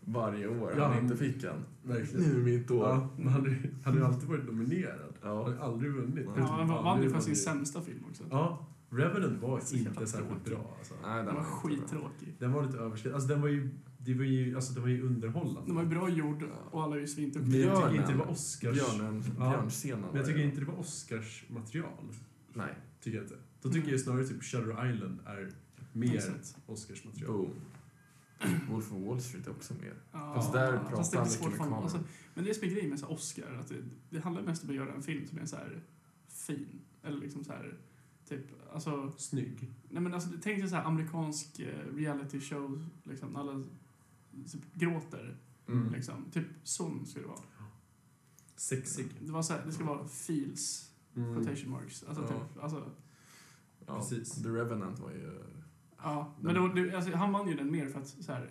D: varje år
C: Ja,
D: han
C: men-
D: inte fick en.
C: Verkligen.
D: Nu är mitt år.
C: Ja, men han hade- hade ju alltid varit nominerad.
D: Ja.
C: Han hade aldrig vunnit.
D: Ja,
A: ja han vann
C: nu
A: ju för
C: vann
A: sin
C: ju-
A: sämsta film också.
C: Ja, Revenant var
A: Så jävla
C: inte särskilt
A: tråkig.
C: bra. Alltså.
D: Nej,
A: Den var
D: inte bra.
A: skittråkig.
C: Den var lite överskattad. Alltså, den var ju, det var ju, alltså, den var ju underhållande.
A: Den var ju bra gjord och alla är ju
C: Men
A: svinduktiga.
C: jag
D: Björnen.
C: tycker inte det var Oscars...
D: Björnen,
C: Ja.
D: björnscenen.
C: Men jag tycker inte det var Oscars material.
D: Nej,
C: Tycker jag inte. Då tycker jag snarare typ Shutter Island är mer
A: Mm. Exakt.
C: Oscars material.
D: boom. Wolf of Wall Street är också mer.
A: Ja,
D: Fast där pratar
A: fast det är
D: han
A: svårt
D: mycket
A: för
D: med
A: honom.
D: kameran.
A: Alltså, men det är som är grejen med så här Oscar, att det, det handlar mest om att göra en film som är så här fin. Eller liksom så här, typ,
D: Oh.
A: alltså,
C: Snygg.
A: nej men alltså tänk dig så här amerikansk eh, reality show, liksom, när alla typ, gråter.
C: Mm.
A: Liksom. Typ sån ska det vara.
C: Sexig.
A: Det, var så här, det ska vara feels,
C: Mm.
A: quotation marks. Alltså,
D: Ja.
A: typ, alltså,
D: Ja,
C: Precis.
D: The Revenant var ju...
A: ja.
D: Mm.
A: Men då, det, alltså, han vann ju den mer för att så här,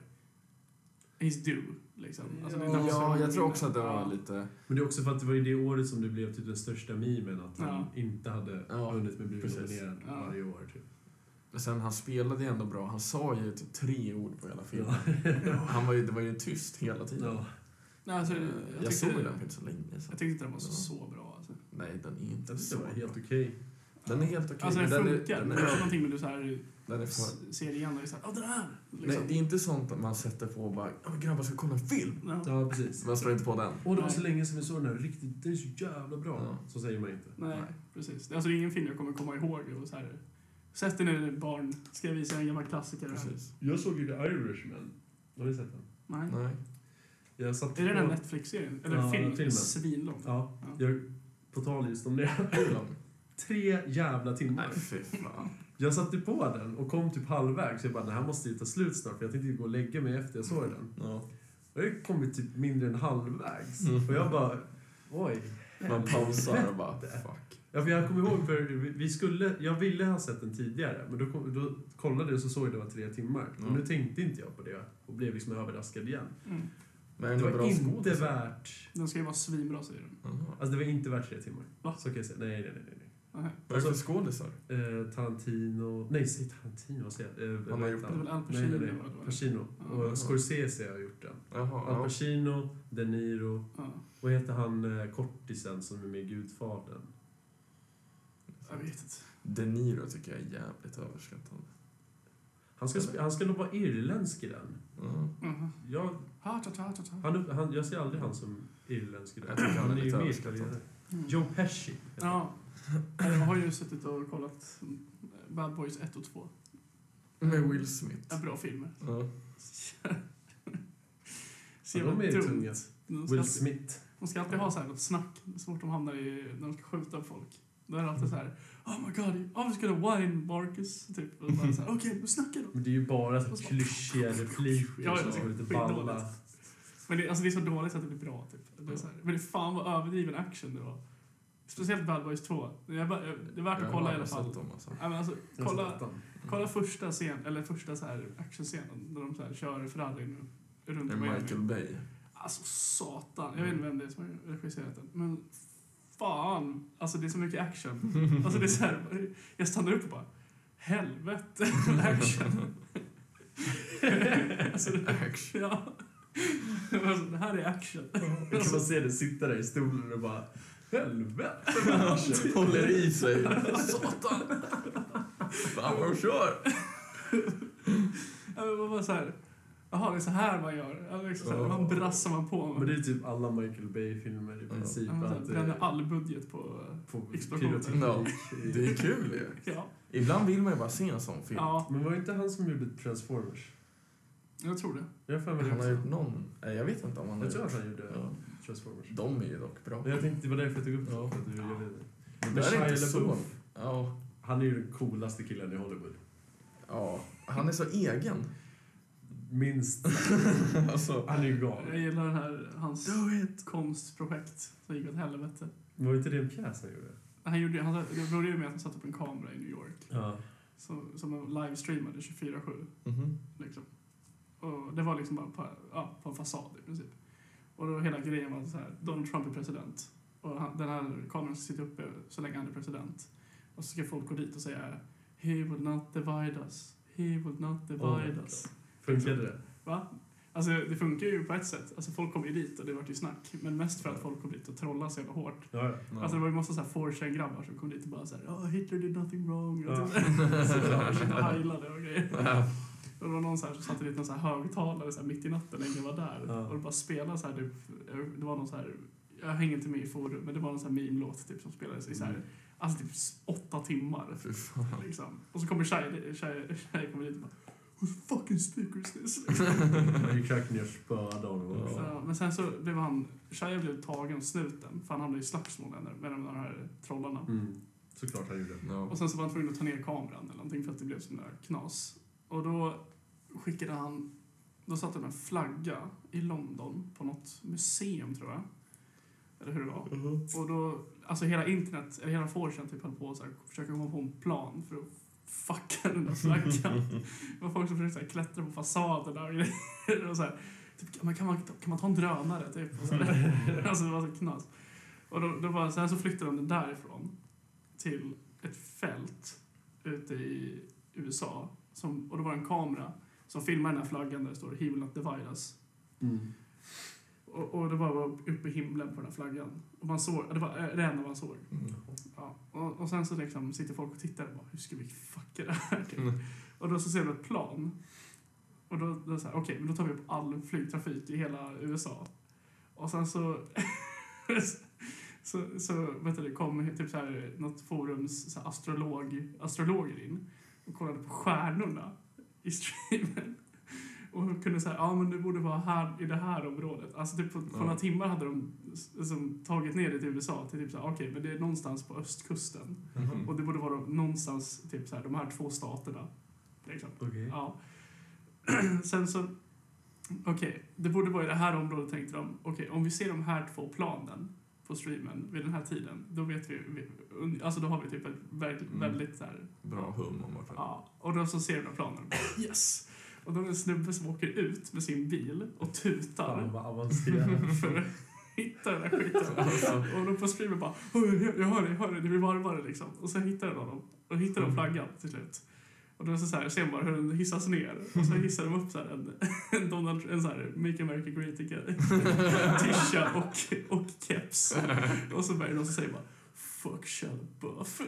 A: he's due, liksom. Alltså, det är dags för
D: Ja,
A: honom
D: jag tror
A: vinna.
D: också att det var
A: Ja.
D: lite...
C: Men det är också för att det var ju det året som det blev typ den största memen att han
A: Ja.
C: inte hade
D: Ja,
C: vunnit men blivit
D: precis.
C: nominerad
A: Ja.
C: varje år. Typ.
D: Men sen, han spelade ju ändå bra. Han sa ju typ tre ord på hela filmen.
C: Ja.
D: Han var ju, det var ju tyst hela tiden.
C: Ja.
A: Nej, alltså,
D: Eh,
A: jag,
D: jag
A: tyckte-
D: såg ju den för inte så länge sedan.
A: Jag tyckte inte den var så,
D: Ja.
A: så bra. Alltså.
D: Nej, den är inte
C: Jag tyckte
D: så
C: det var helt
D: bra.
C: okej.
D: Den är helt okej.
A: Alltså den
D: men den är-
A: funkar,
D: den
A: men
D: är-
A: det är någonting med du så här,
D: Den är för...
A: s- ser igen och är så här, åh Liksom. den här!
D: Nej, det är inte sånt att man sätter på och bara "Ja, men grabbar ska vi kolla en film.
A: Ja.
C: Ja, precis.
D: Man slår inte på den.
C: Och det var så länge sedan vi såg den här riktigt, den är så jävla bra.
D: Ja.
C: Så säger man inte.
A: Nej,
D: Nej.
A: precis. Det är alltså ingen film jag kommer komma ihåg. Och så här, Sätt dig ner barn, ska jag visa er en gammal klassiker. här?"
D: Precis.
C: Jag såg ju The Irishman. Har ni sett den?
A: Nej.
D: Nej.
C: Jag satt
A: Är det den
C: på-
A: Netflix-serien? Eller
C: Ja,
A: filmen?
C: filmen.
A: Svinlång.
C: Ja,
A: Ja.
C: jag, på tal just om det.
D: Hur lång?
C: Tre jävla timmar.
D: Nej, fy fan.
C: Jag satte på den och kom typ halvvägs. Jag bara, det här måste ju ta slut snart för jag tänkte ju gå och lägga mig efter jag såg
A: Mm.
C: den.
D: Ja.
C: Jag har ju kommit typ mindre än halvvägs.
D: Mm.
C: Och jag bara, oj.
D: Man pausar och bara fuck.
C: Ja, för jag kommer ihåg, för vi vi skulle, jag ville ha sett den tidigare, men då, kom, då kollade jag och så såg jag det var tre timmar.
D: Mm.
C: Och nu tänkte inte jag på det och blev liksom överraskad igen.
A: Mm.
D: Men
C: Det var inte
D: skådis.
C: värt...
A: Den ska ju vara svinbra säger de.
D: Jaha.
C: Alltså det var inte värt tre timmar.
A: Va?
C: Så kan jag säga. Nej, nej, nej. nej, nej.
A: Aha.
D: Vad är det för
C: alltså-
D: skådisar?
C: Eh, Tarantino... Nej, säg Tarantino. Vad säger jag? Eh,
D: Han har gjort
A: Det är
C: vänta.
A: väl Al
C: Nej,
A: Pacino?
C: nej, nej.
A: eller vad det var? Ah,
C: Pacino.
A: Ja.
C: Och Scorsese har gjort den. Al
D: Jaha.
C: Pacino, De Niro...
A: Ja.
C: Vad heter han eh, kortisen som är med i Gudfadern?
A: Jag vet inte.
D: De Niro tycker jag är jävligt överskattad.
C: Han ska, sp- han ska nog vara irländsk i den.
D: Ja.
A: Mhm.
C: Jag,
A: Ha, ta, ta, ta, ta.
C: han, upp- han, jag ser aldrig han som irländsk i den.
D: Jag tycker han är lite
C: med i
D: överskattad.
C: italienare.
A: Mm.
C: Joe Pesci. heter han.
A: Ja. Jag har ju suttit och kollat Bad Boys 1 och 2.
D: Med Will Smith.
A: Ja, bra filmer.
D: Ja.
A: Så
C: Ja, de
A: jävla
C: är ju
A: dumt.
C: tunga.
A: De ska,
C: Will
A: alltid,
C: Smith.
A: de ska alltid ha så här något snack så fort de hamnar i, när de ska skjuta folk. Då är det alltid så här, oh my god, I was gonna wine Marcus. Typ. Och bara så här, Okej, okay, snacka då.
C: Men det är ju bara så klyschiga repliker
A: Ja,
C: som
A: det är
C: är lite
A: skitdåligt.
C: balla.
A: Men det, alltså, det är så dåligt så att det blir bra. Typ. Det är så här, men det fan vad överdriven action det var. Speciellt Bad Boys 2. Jag, bara- jag- det är värt att kolla i alla fall.
D: Dem, alltså.
A: Ja, men alltså,
C: Jag har
A: kolla,
C: sett den.
A: kolla första scen, eller första så här actionscenen när de så här kör Ferrarin runt
D: Med
A: Miami.
D: Michael Bay.
A: Alltså satan, jag vet inte vem det är som har regisserat den. Men fan, alltså det är så mycket action. Alltså det är så här, jag stannar upp och bara helvete action. alltså, action. Ja. Alltså, det här är action.
C: Man kan bara se det sitta där i stolen och bara helvete.
D: Håller i sig. Satan! Fan vad de kör!
A: Ja, men Man bara så här, jaha det är så här man gör. Alltså, liksom så här, man brassar man på. Man,
C: Men det är typ alla Michael Bay-filmer i princip.
A: man så här,
C: Att, eh,
A: bränner typ all budget på...
C: på
A: Explosioner.
C: pyroteknik.
D: Ja. Det är kul ju.
A: Ja,
D: Ibland vill man ju bara se en sån film.
A: ja
C: Men var det inte han som gjorde Transformers?
A: jag tror det.
C: Jag har för mig det
D: Han har
C: också.
D: gjort någon... Nej, jag vet inte om han har
C: Jag tror att
D: gjort...
C: han gjorde
D: Ja.
C: Transformers.
D: De är ju dock bra.
C: Men jag tänkte, det var därför jag tog upp det.
D: Ja.
C: För att du ville det. Men
D: Det är
C: Shia
D: inte så...
C: LaBeouf,
D: Ja,
C: Han är ju den coolaste killen i Hollywood.
D: ja. Han är så egen.
C: Minst.
D: alltså,
C: Han är ju
A: Jag
C: galen.
A: gillar den här, hans
D: do it!
A: konstprojekt som gick åt helvete.
C: Var inte det en pjäs han gjorde?
A: Han gjorde, han, det började ju med att han satte upp en kamera i New York
C: Ja.
A: som, som han livestreamade 24-7.
D: Mhm.
A: Liksom. Och det var liksom bara på, ja, på en fasad i princip. Och då hela grejen var så här, Donald Trump är president. Och han, den här kameran ska sitta uppe så länge han är president. Och så ska folk gå dit och säga He will not divide us. He will not divide
C: Oh.
A: us.
C: Funkade det?
A: Va? Alltså det funkar ju på ett sätt. Alltså folk kom ju dit och det vart ju snack. Men mest för att folk kom dit och trollade så jävla hårt.
C: Ja, ja.
A: Alltså det var ju massa såhär 4 grabbar som kom dit och bara såhär oh, “Hitler did nothing wrong” och
C: Ja.
A: typ såhär heilade och grejer. Och det var någon så här som satte dit någon så här högtalare så här mitt i natten när ingen var där.
C: Ja.
A: Och det bara spelade så här, typ, det var någon så här, jag hänger inte med i forum, men det var någon så här meme-låt typ som spelades i så
C: Mm.
A: här, alltså typ s- åtta timmar.
D: Fy fan.
A: Liksom. Och så kommer tjej, tjej, tjej kommer dit och bara Whose fucking sticker is this?
C: Vi krökte ner och spöade honom.
A: Så, men sen så blev han, tjejen blev tagen av snuten, för han hamnade i slagsmål där med de här trollarna.
C: Mm. Såklart han gjorde.
D: No.
A: Och sen så var han tvungen att ta ner kameran eller någonting för att det blev sån där knas. Och då skickade han, då satte han en flagga i London på något museum tror jag. Eller hur det var. Och då, alltså hela internet, eller hela forsen typ höll på att så här försöka komma på en plan för att fucka den där flaggan. det var folk som försökte så här klättra på fasaderna och grejer. Och så här, typ, kan, man, kan, man, kan man ta en drönare typ? Och så här. alltså det var så knas. Och då, då bara, sen så flyttade de den därifrån till ett fält ute i USA. Som, och då var det en kamera som filmade den här flaggan där det står “He will not divide us”.
C: Mm.
A: Och, och det bara var uppe i himlen på den här flaggan. Och man såg, det var eh, det enda man såg.
D: Mm.
A: Ja. Och, och sen så liksom sitter folk och tittar och bara, hur ska vi fucka det här? Typ. Och då så ser de ett plan. Och då, då så här, okej, men då tar vi upp all flygtrafik i hela USA. Och sen så... så, så vet du, det kom typ så här, något forums så här, astrolog, astrologer in och kollade på stjärnorna i streamen. Och kunde säga, ja men det borde vara här i det här området. Alltså typ på, på
D: Ja.
A: några timmar hade de liksom, tagit ner det till USA till typ så här, okej, men det är någonstans på östkusten.
D: Mhm.
C: Mm.
A: Och det borde vara någonstans typ så här, de här två staterna. Till exempel.
C: Okej.
A: Ja. Sen så, okej, det borde vara i det här området tänkte de. Okej, om vi ser de här två planen på streamen vid den här tiden, då vet vi, vi alltså då har vi typ ett väldigt,
D: Mm.
A: väldigt så här,
D: Bra hum om vart det
A: Ja, och då så ser de den här planen och bara, yes! Och då är det en snubbe som åker ut med sin bil och tutar
C: Fan vad avancerat.
A: för att hitta den där
C: Alltså.
A: skiten. Och de på streamen bara "Oj, jag, jag hör det, jag hör det, det blir varmare liksom. Och sen hittar de honom. Och då
C: Mm.
A: hittar de flaggan till slut. Och då är det så här, ser man bara hur den hissas ner. Och så hissar de upp så här en, en, Donald, en så här Make America Great Again tisha och, och keps. Och så börjar de som säger bara Fuck Shell Buff.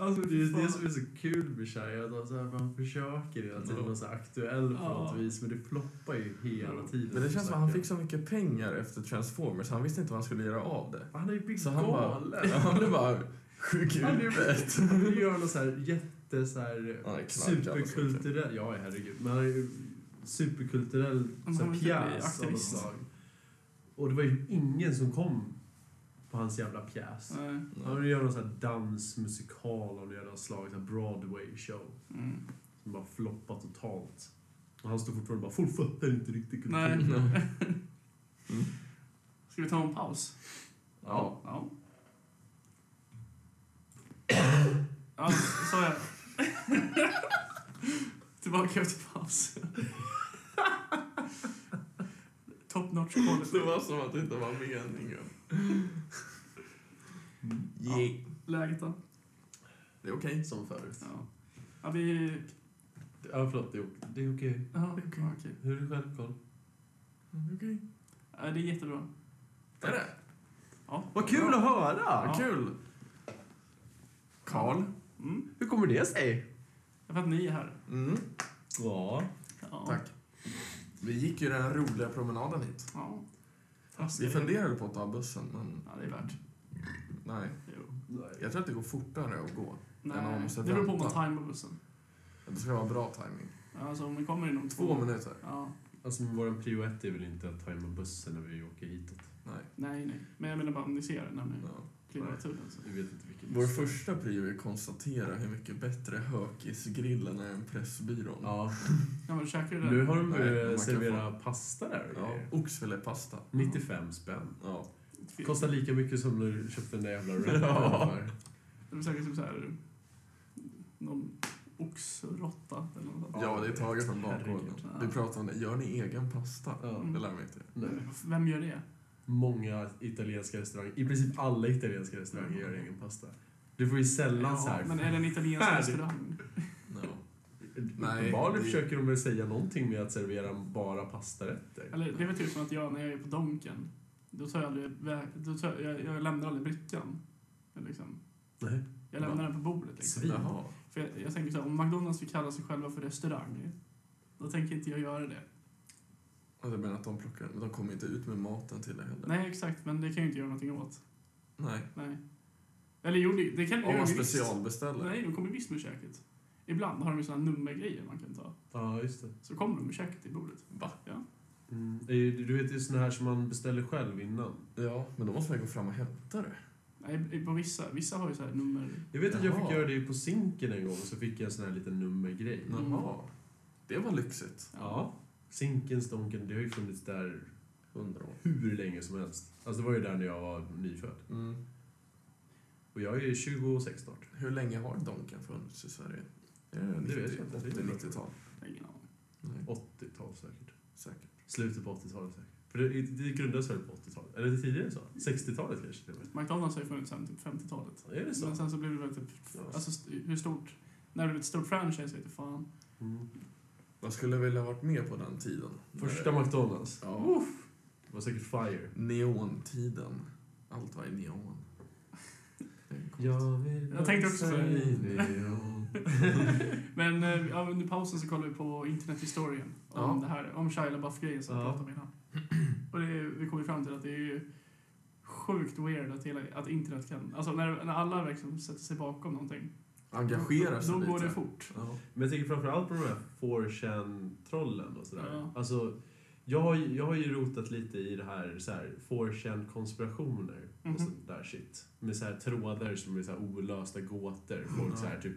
A: alltså,
C: Det är det
A: fan.
C: som är så kul med Shia, att han så här, man försöker hela tiden vara så här aktuell på
A: Ja.
C: något vis, men det ploppar ju hela
A: Ja.
C: tiden.
D: Men det känns som att han fick så mycket pengar efter Transformers, han visste inte vad han skulle göra av det.
C: Han är ju blivit
D: Så han bara,
C: galen!
D: han blev bara sjuk i
C: Han är-
D: huvudet.
C: Han vill göra något så här jätte så här
D: Han är knarkad och så.
C: superkulturell, ja herregud, men han är ju superkulturell
A: Men
C: så
A: han
C: här,
A: vill inte bli
C: pjäs av något
A: aktivist.
C: slag. Och det var ju ingen som kom på hans jävla pjäs.
A: Nej.
C: Han ville göra någon sån här dansmusikal av något jävla slag, en Broadway-show.
A: Mm.
C: Som bara floppade totalt. Och han står fortfarande bara, folk fattar inte riktigt
A: Nej.
C: kulturen."
A: Ska vi ta en paus?
D: Ja.
A: Ja. Ja, så är det. Tillbaka efter paus. Top notch quality.
D: Det var som att det inte var meningen.
A: Mm.
D: Yeah.
A: Läget då?
D: Det är okej.
C: Som förut.
A: Ja. ja vi...
C: Ja, förlåt. Det är ok- det är okej.
A: Ja, okej. Okay.
C: Hur är det självkoll?
D: Det är Mm, okej.
A: Ja, det är jättebra.
D: Är det?
A: Ja.
C: Vad kul att höra!
A: Ja.
D: Vad kul! Karl.
A: Mm.
C: Hur kommer det sig?
A: Jag vet att ni är här.
D: Mm.
C: Ja.
A: Ja.
D: Tack. Vi gick ju den här roliga promenaden hit.
A: Ja.
D: Vi funderade på att ta bussen, men
A: Ja, det är värt.
D: nej.
A: Jo.
D: Jag tror att det går fortare att gå. Ja, man
A: Nej,
D: måste
A: det beror på om man
D: vänta.
A: tajmar bussen.
D: Det ska vara bra timing.
A: Alltså om ni kommer inom två...
D: Två minuter.
A: Ja.
C: Alltså, men vår prio ett är väl inte att ta in med bussen när vi åker hitåt?
D: Nej.
A: Nej, nej. Men jag menar bara om ni ser det när ni
D: Ja.
A: kliver av turen. Så.
C: Vi vet inte vilken
D: Vår
C: buss.
D: första prio är att konstatera hur mycket bättre hökisgrillen är än Pressbyrån.
C: Ja.
A: Ja, men käkar du det?
C: Nu har de
D: Nej, man
C: börjat
D: kan
C: servera pasta där och
D: Ja,
C: grejer.
D: oxfilépasta.
C: 95 spänn.
D: Ja.
A: Fy-
C: Kostar lika mycket som när du köpte den där jävla rackaren
D: Ja.
C: för.
A: Det är säkert som så här, någon oxrotta eller något. sånt.
D: ja, det är taget från bakgården.
A: Herregud.
D: Vi pratade om det. Gör ni egen pasta?
C: Ja.
D: Det lär mig inte.
C: Nej.
A: Vem gör det?
C: Många italienska restauranger, i princip alla italienska restauranger gör egen pasta. Du får ju sällan så
A: Ja,
C: här.
A: men är det en italiensk
C: Färdig.
A: restaurang?
D: Ja. Nej,
C: Uppenbarligen
D: det-
C: försöker de väl säga någonting med att servera bara pastarätter.
A: Eller det är väl typ som att jag när jag är på Donken, då tar jag aldrig vä- då tar jag, jag, jag lämnar aldrig brickan. Eller Liksom.
C: Nej.
A: Jag lämnar den på bordet. Liksom.
C: Svin.
D: Jaha.
A: För jag, jag tänker så här, om McDonalds vill kalla sig själva för restaurang, då tänker inte jag göra det.
D: Och du Alltså, menar att de plockar, de kommer inte ut med maten till det heller?
A: Nej, exakt, men det kan jag ju inte göra någonting åt.
D: Nej.
A: Nej. Eller jo, det, det kan jag
D: Om
A: göra
D: man
A: visst.
D: specialbeställer?
A: Nej, de kommer visst med käket. Ibland har de ju såna här nummergrejer man kan ta.
C: Ja, just det.
A: Så kommer de med käket till bordet.
D: Va?
A: Ja.
C: Mm. det är ju- Du vet, det är såna här som man beställer själv innan.
D: Ja, men då måste man gå fram och hämta det.
A: Nej, på vissa, vissa har ju så här nummer...
C: Jag vet att jag fick
D: Jaha.
C: göra det på Zinken en gång, så fick jag en sån här liten nummergrej.
A: Mm.
D: Jaha. Det var lyxigt.
C: Ja. Zinken, Stonken, det har ju funnits där
D: Hundra år.
C: hur länge som helst. Alltså det var ju där när jag var nyfödd.
D: Mm.
C: Och jag är ju 26 snart.
D: Hur länge har Donken funnits i Sverige? Är det
C: Det vet
D: 90,
C: jag inte. Det är
D: 80,
C: bra
D: 90-tal?
A: Ingen aning.
D: Nej,
C: 80-tal säkert.
D: säkert.
C: Slutet på 80-talet säkert. För det, det grundades väl på 80-talet? Eller det tidigare så? 60-talet kanske till och med?
A: McDonalds har ju funnits sedan typ 50-talet.
C: Är det så?
A: Men sen så blev det väl typ...
C: Ja.
A: Alltså st- hur stort... När det blev ett stort franchise vet jag fan.
C: Mm.
D: Jag skulle vilja ha varit med på den tiden.
C: Första
D: När-
C: McDonalds.
D: Ja.
C: Det var säkert Fire.
D: Neontiden. Allt var i neon. Det är coolt.
C: vill
A: Jag tänkte också
C: dansa
A: på det.
C: i neon.
A: Men eh, ja, under pausen så kollade vi på internethistorien. Om
D: Ja.
A: det här, om Shia LaBeouf-grejen som jag
C: Ja.
A: pratade om innan. Och det, är- vi kom ju fram till att det är ju sjukt weird att, hela, att internet kan... Alltså när, när alla verkligen sätter sig bakom någonting.
D: Engagera sig
A: Då
D: lite.
A: går det fort.
D: Ja.
C: Men jag tänker framförallt på de här 4chan-trollen och sådär.
A: Ja.
C: Alltså, jag, har ju- jag har ju rotat lite i det här, så här 4chan-konspirationer
A: Mhm.
C: och sånt där shit. Med så här trådar som är så här olösta gåtor. Folk
D: Ja.
C: så här typ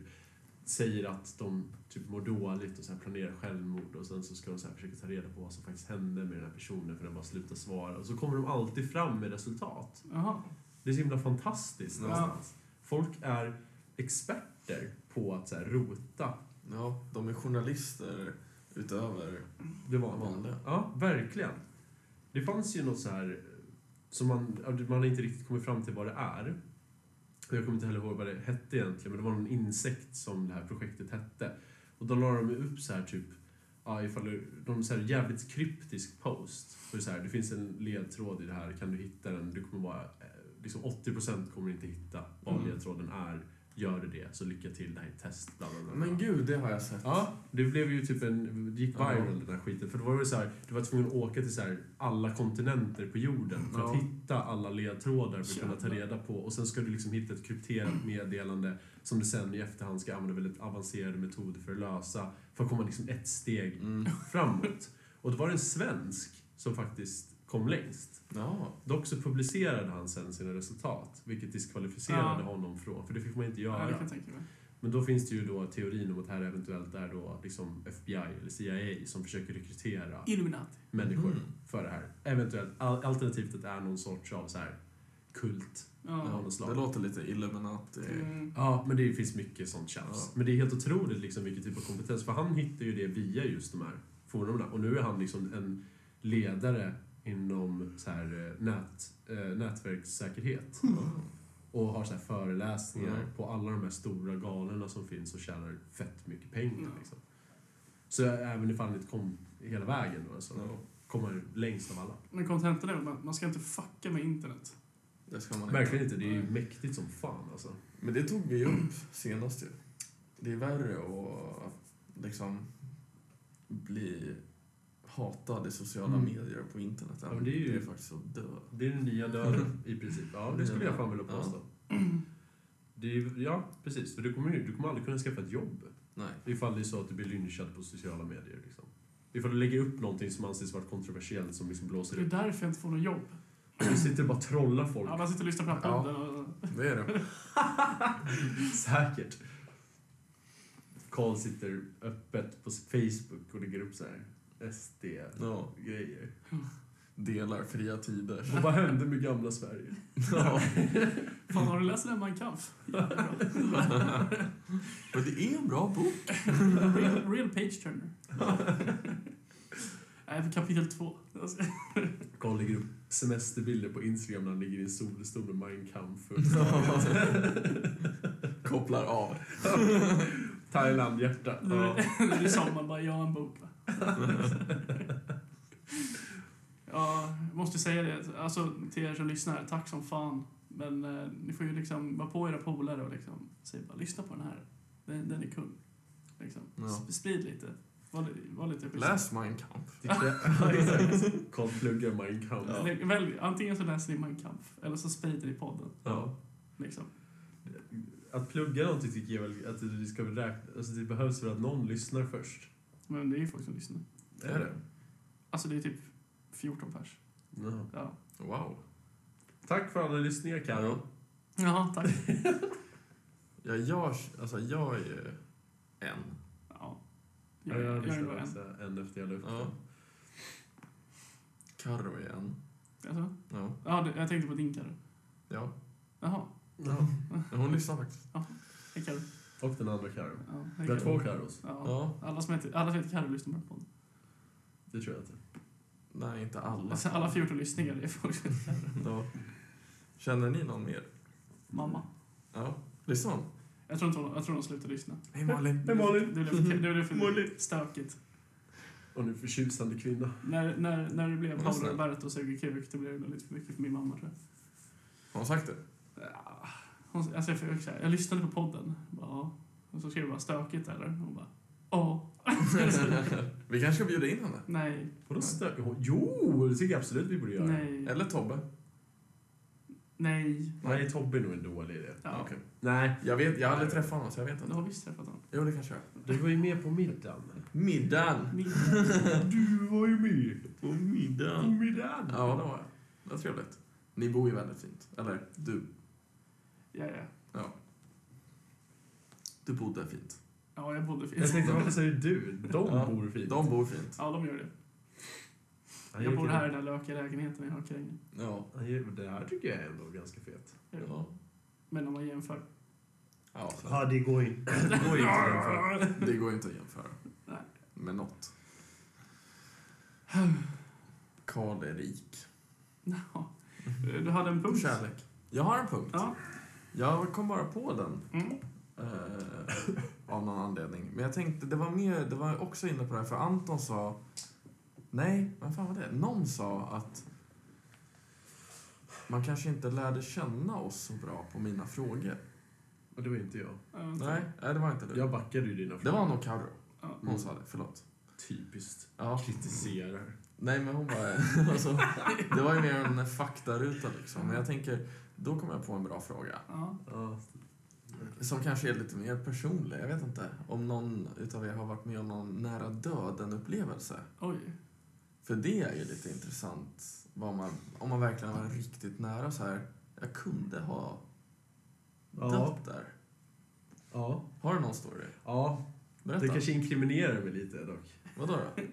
C: säger att de typ mår dåligt och så här planerar självmord och sen så ska de så här försöka ta reda på vad som faktiskt hände med den här personen för den bara slutar svara. Och så kommer de alltid fram med resultat.
A: Jaha.
C: Det är så himla fantastiskt
D: Ja.
C: någonstans. Folk är experter på att så här rota
D: ja, de är journalister utöver...
C: Det var
D: Vanliga.
C: Ja, verkligen. Det fanns ju något så här eh, som man, ja, man har inte riktigt kommit fram till vad det är. Och Jag kommer inte heller ihåg vad det hette egentligen, men det var någon insekt som det här projektet hette. Och då la de upp så här typ, ja, ifall du, de så här jävligt kryptisk post. För så här, det finns en ledtråd i det här, kan du hitta den? Du kommer bara, eh, liksom 80% kommer inte hitta vad
D: Mm.
C: ledtråden är. Gör du det, så lycka till, det här är ett test. Bla, bla, bla, bla.
D: Men gud, det har jag sett.
C: Ja, det blev ju typ en... Det gick
D: Ja.
C: viral den där skiten. För då var det så här, du var tvungen att åka till så här, alla kontinenter på jorden för att
D: Ja.
C: hitta alla ledtrådar för att kunna ta
A: Jävlar.
C: reda på. Och sen ska du liksom hitta ett krypterat meddelande som du sen i efterhand ska använda väldigt avancerade metoder för att lösa. För att komma liksom ett steg
D: Mm.
C: framåt. Och då var det en svensk som faktiskt kom längst.
D: Ja.
C: Dock så publicerade han sen sina resultat, vilket diskvalificerade
A: Ja.
C: honom från, för det fick man inte
A: Ja,
C: göra.
A: det kan jag tänka mig.
C: Men då finns det ju då teorin om att här eventuellt är då liksom FBI eller CIA som försöker rekrytera
A: Illuminati.
C: människor
D: Mm.
C: för det här. Eventuellt, al- alternativt att det är någon sorts av så här kult.
A: Ja.
C: Ja.
D: Ja, det låter lite Illuminati.
A: Mm.
C: Ja, men det finns mycket sånt tjafs.
D: Ja.
C: Men det är helt otroligt liksom vilken typ av kompetens, för han hittar ju det via just de här forumen. Och nu är han liksom en ledare inom så här eh, nät, eh, nätverkssäkerhet.
D: Ja.
C: Och har så här föreläsningar
D: Mm.
C: på alla de här stora galorna som finns och tjänar fett mycket pengar.
A: Mm.
C: Liksom. Så även ifall han inte kom hela vägen då, så
D: Ja.
C: kommer längst av alla.
A: Men kontentan är att man, man ska inte fucka med internet.
D: Det ska man
C: Verkligen inte, det är ju
A: Nej.
C: mäktigt som fan alltså.
D: Men det tog vi ju upp senast ju. Det är värre att liksom bli hatad i sociala
C: Mm.
D: medier och på internet än
C: Ja, men det är ju-
D: faktiskt att dö.
C: Det är den nya
D: Mm.
C: döden i princip. Ja, det skulle jag fan vilja påstå. Det är, ju- ja, precis. För du kommer, ju- du kommer aldrig kunna skaffa ett jobb
D: Nej.
C: ifall det är så att du blir lynchad på sociala medier. Liksom. Ifall du lägger upp någonting som anses vara kontroversiellt som liksom blåser
A: Det är
C: upp.
A: därför jag inte får något jobb.
C: Du sitter och bara trollar folk.
A: Ja, man sitter och lyssnar på den här
D: Ja.
A: podden och...
D: Det är det.
C: Säkert. Karl sitter öppet på Facebook och lägger upp så här
D: Ja,
C: SD-grejer.
D: delar fria tider.
C: Och vad hände med gamla Sverige?
D: Ja.
A: Fan, har du läst den här Mein Kampf? Jättebra.
D: Men det är en bra bok.
A: Real, real page turner. Nej, för kapitel två. Alltså,
C: Karl lägger upp semesterbilder på Instagram när han ligger i en solstol med Mein Kampf.
D: Kopplar av.
C: Thailand, hjärta.
A: Nu nu är det sommar, bara jag har en bok. Va? ja, jag måste säga det, alltså till er som lyssnar, tack som fan. Men eh, ni får ju liksom vara på era polare och liksom säga bara lyssna på den här. Den, den är kul. Liksom.
D: Ja.
A: Sp- Sprid lite. Var, li- var lite schysst.
D: Läs Mein Kampf.
C: Ja, exakt. Carl pluggar Mein Kampf.
A: Eller Välj, antingen så läser ni Mein Kampf eller så sprider ni podden.
C: Ja.
A: Liksom.
C: Att plugga någonting tycker jag väl att det, ska väl räkna, alltså det behövs väl att någon lyssnar först.
A: Men det är ju folk som lyssnar.
D: Är det?
A: Alltså det är typ 14 pers.
C: Ja.
A: Ja,
D: Wow.
C: Tack för alla lyssningar, Karo.
A: ja tack.
D: Ja, jag, alltså, jag är ju en.
A: Ja. Jag, jag, jag är bara en.
C: en. en efter jag la upp
D: Ja.
C: den.
D: Carro är en.
A: Alltså?
D: Ja.
A: Ja, du- jag tänkte på din Carro.
D: ja.
A: Jaha,
D: Hon lyssnar faktiskt.
A: hej Carro.
C: Och den andra Karo.
A: Ja, hej,
C: Vi
A: Carro.
C: har två Karos.
A: Ja.
D: Ja.
A: Alla som heter, alla som heter Carro lyssnar bara på podden.
C: Det tror jag inte.
D: Nej, inte alla.
A: Alltså, alla 14 lyssningar är folk som heter Carro.
D: Ja. Känner ni någon mer?
A: Mamma.
D: Ja. Lyssnar hon?
A: Jag tror, inte hon, jag tror hon slutar lyssna.
D: Hej Malin.
C: Hej, Malin.
A: Det blev för, det blev
C: Molly.
A: för stökigt.
C: Och nu förtjusande kvinna.
A: När, när, när det blev
D: Hon är
A: Paolo
D: snäll.
A: Roberto suger kuk, det blev nog lite för mycket för min mamma tror jag.
D: Har hon sagt det?
A: Ja, Hon, alltså jag, fick, så här, jag lyssnade på podden. Bara, ja. och så skrev jag bara stökigt eller? Hon bara, ja.
D: Vi kanske ska bjuda in henne.
A: Nej,
C: Vadå stök? Jo, det tycker jag absolut vi borde göra.
A: nej,
D: Eller Tobbe.
A: nej.
C: Nej, Tobbe är nog en dålig idé.
A: Ja.
D: Okej.
C: Nej,
D: Jag, vet, jag har aldrig träffat honom, så jag vet
A: Du
D: inte.
A: har visst träffat honom.
D: Jo, det kanske jag
C: du var ju med på middagen.
D: Middagen.
A: Min-
C: Du var ju med
D: På middagen.
C: middagen.
D: Ja, det var jag. Det var trevligt. Ni bor ju väldigt fint. Eller, du.
A: Ja, ja.
D: Du bodde fint.
A: Ja, jag bodde fint.
C: Jag tänkte, varför säger du? De
D: Ja,
C: bor fint.
D: De bor fint.
A: Ja, de gör det.
C: Han
A: jag
C: gör
A: bor
C: det.
A: här i den där lökiga lägenheten i Hökarängen.
D: Ja.
C: Han gör- Det här tycker jag är ändå ganska fet.
D: Ja.
A: Men om man jämför.
D: ja.
C: Ja, det går inte. Det går inte att jämföra.
D: Det går inte att jämföra.
A: Nej.
D: Med något. Karl är rik.
A: Ja. Eh, Du hade en punkt.
D: Kärlek. Jag har en punkt.
A: Ja.
D: Jag kom bara på den
A: Mm.
D: eh, av någon anledning. Men jag tänkte, det var, mer, det var också inne på det här, för Anton sa... Nej, vad fan var det? Någon sa att man kanske inte lärde känna oss så bra på mina frågor.
C: Och det var inte jag.
A: Ja, vänta.
D: Nej, nej det var inte du.
C: Jag backade ju dina
D: Det var nog Carro.
A: Ja.
D: Hon sa det, förlåt.
C: Typiskt.
D: Ja.
C: Kritiserar.
D: Nej, men hon bara... alltså, det var ju mer en faktaruta liksom. Men jag tänker, då kom jag på en bra fråga.
A: Ja.
C: Ja.
D: Som kanske är lite mer personlig. Jag vet inte om någon utav er har varit med om någon nära döden-upplevelse.
A: Oj.
D: För det är ju lite intressant. Vad man, om man verkligen var riktigt nära så här. Jag kunde ha
C: Ja.
D: dött där.
C: Ja.
D: Har du någon story?
C: ja.
D: Berätta.
C: Det kanske inkriminerar mig lite dock.
D: Vadå då?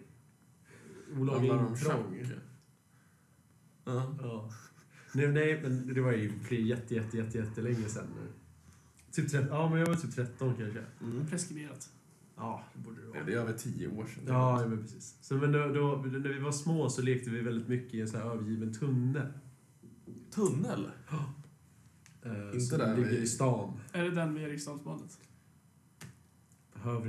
C: Olaga
D: Handlar det om
C: intrång.
D: chock? Ja.
C: Ja. Nej, nej, men det var ju för jätte, jätte, jätte, jättelänge sedan nu. Typ 13, ja men jag var typ 13 kanske.
D: Mm.
A: Preskriberat.
C: Ja, det borde det
D: Det är över tio år sedan.
C: Ja, ja men precis. Så, men då, då, när vi var små så lekte vi väldigt mycket i en sån här övergiven tunnel.
D: Tunnel?
C: Eh,
D: Inte
C: som
D: där
C: ligger
D: vi-
C: i stan.
A: Är det den vid Eriksdalsbadet?
C: Behöver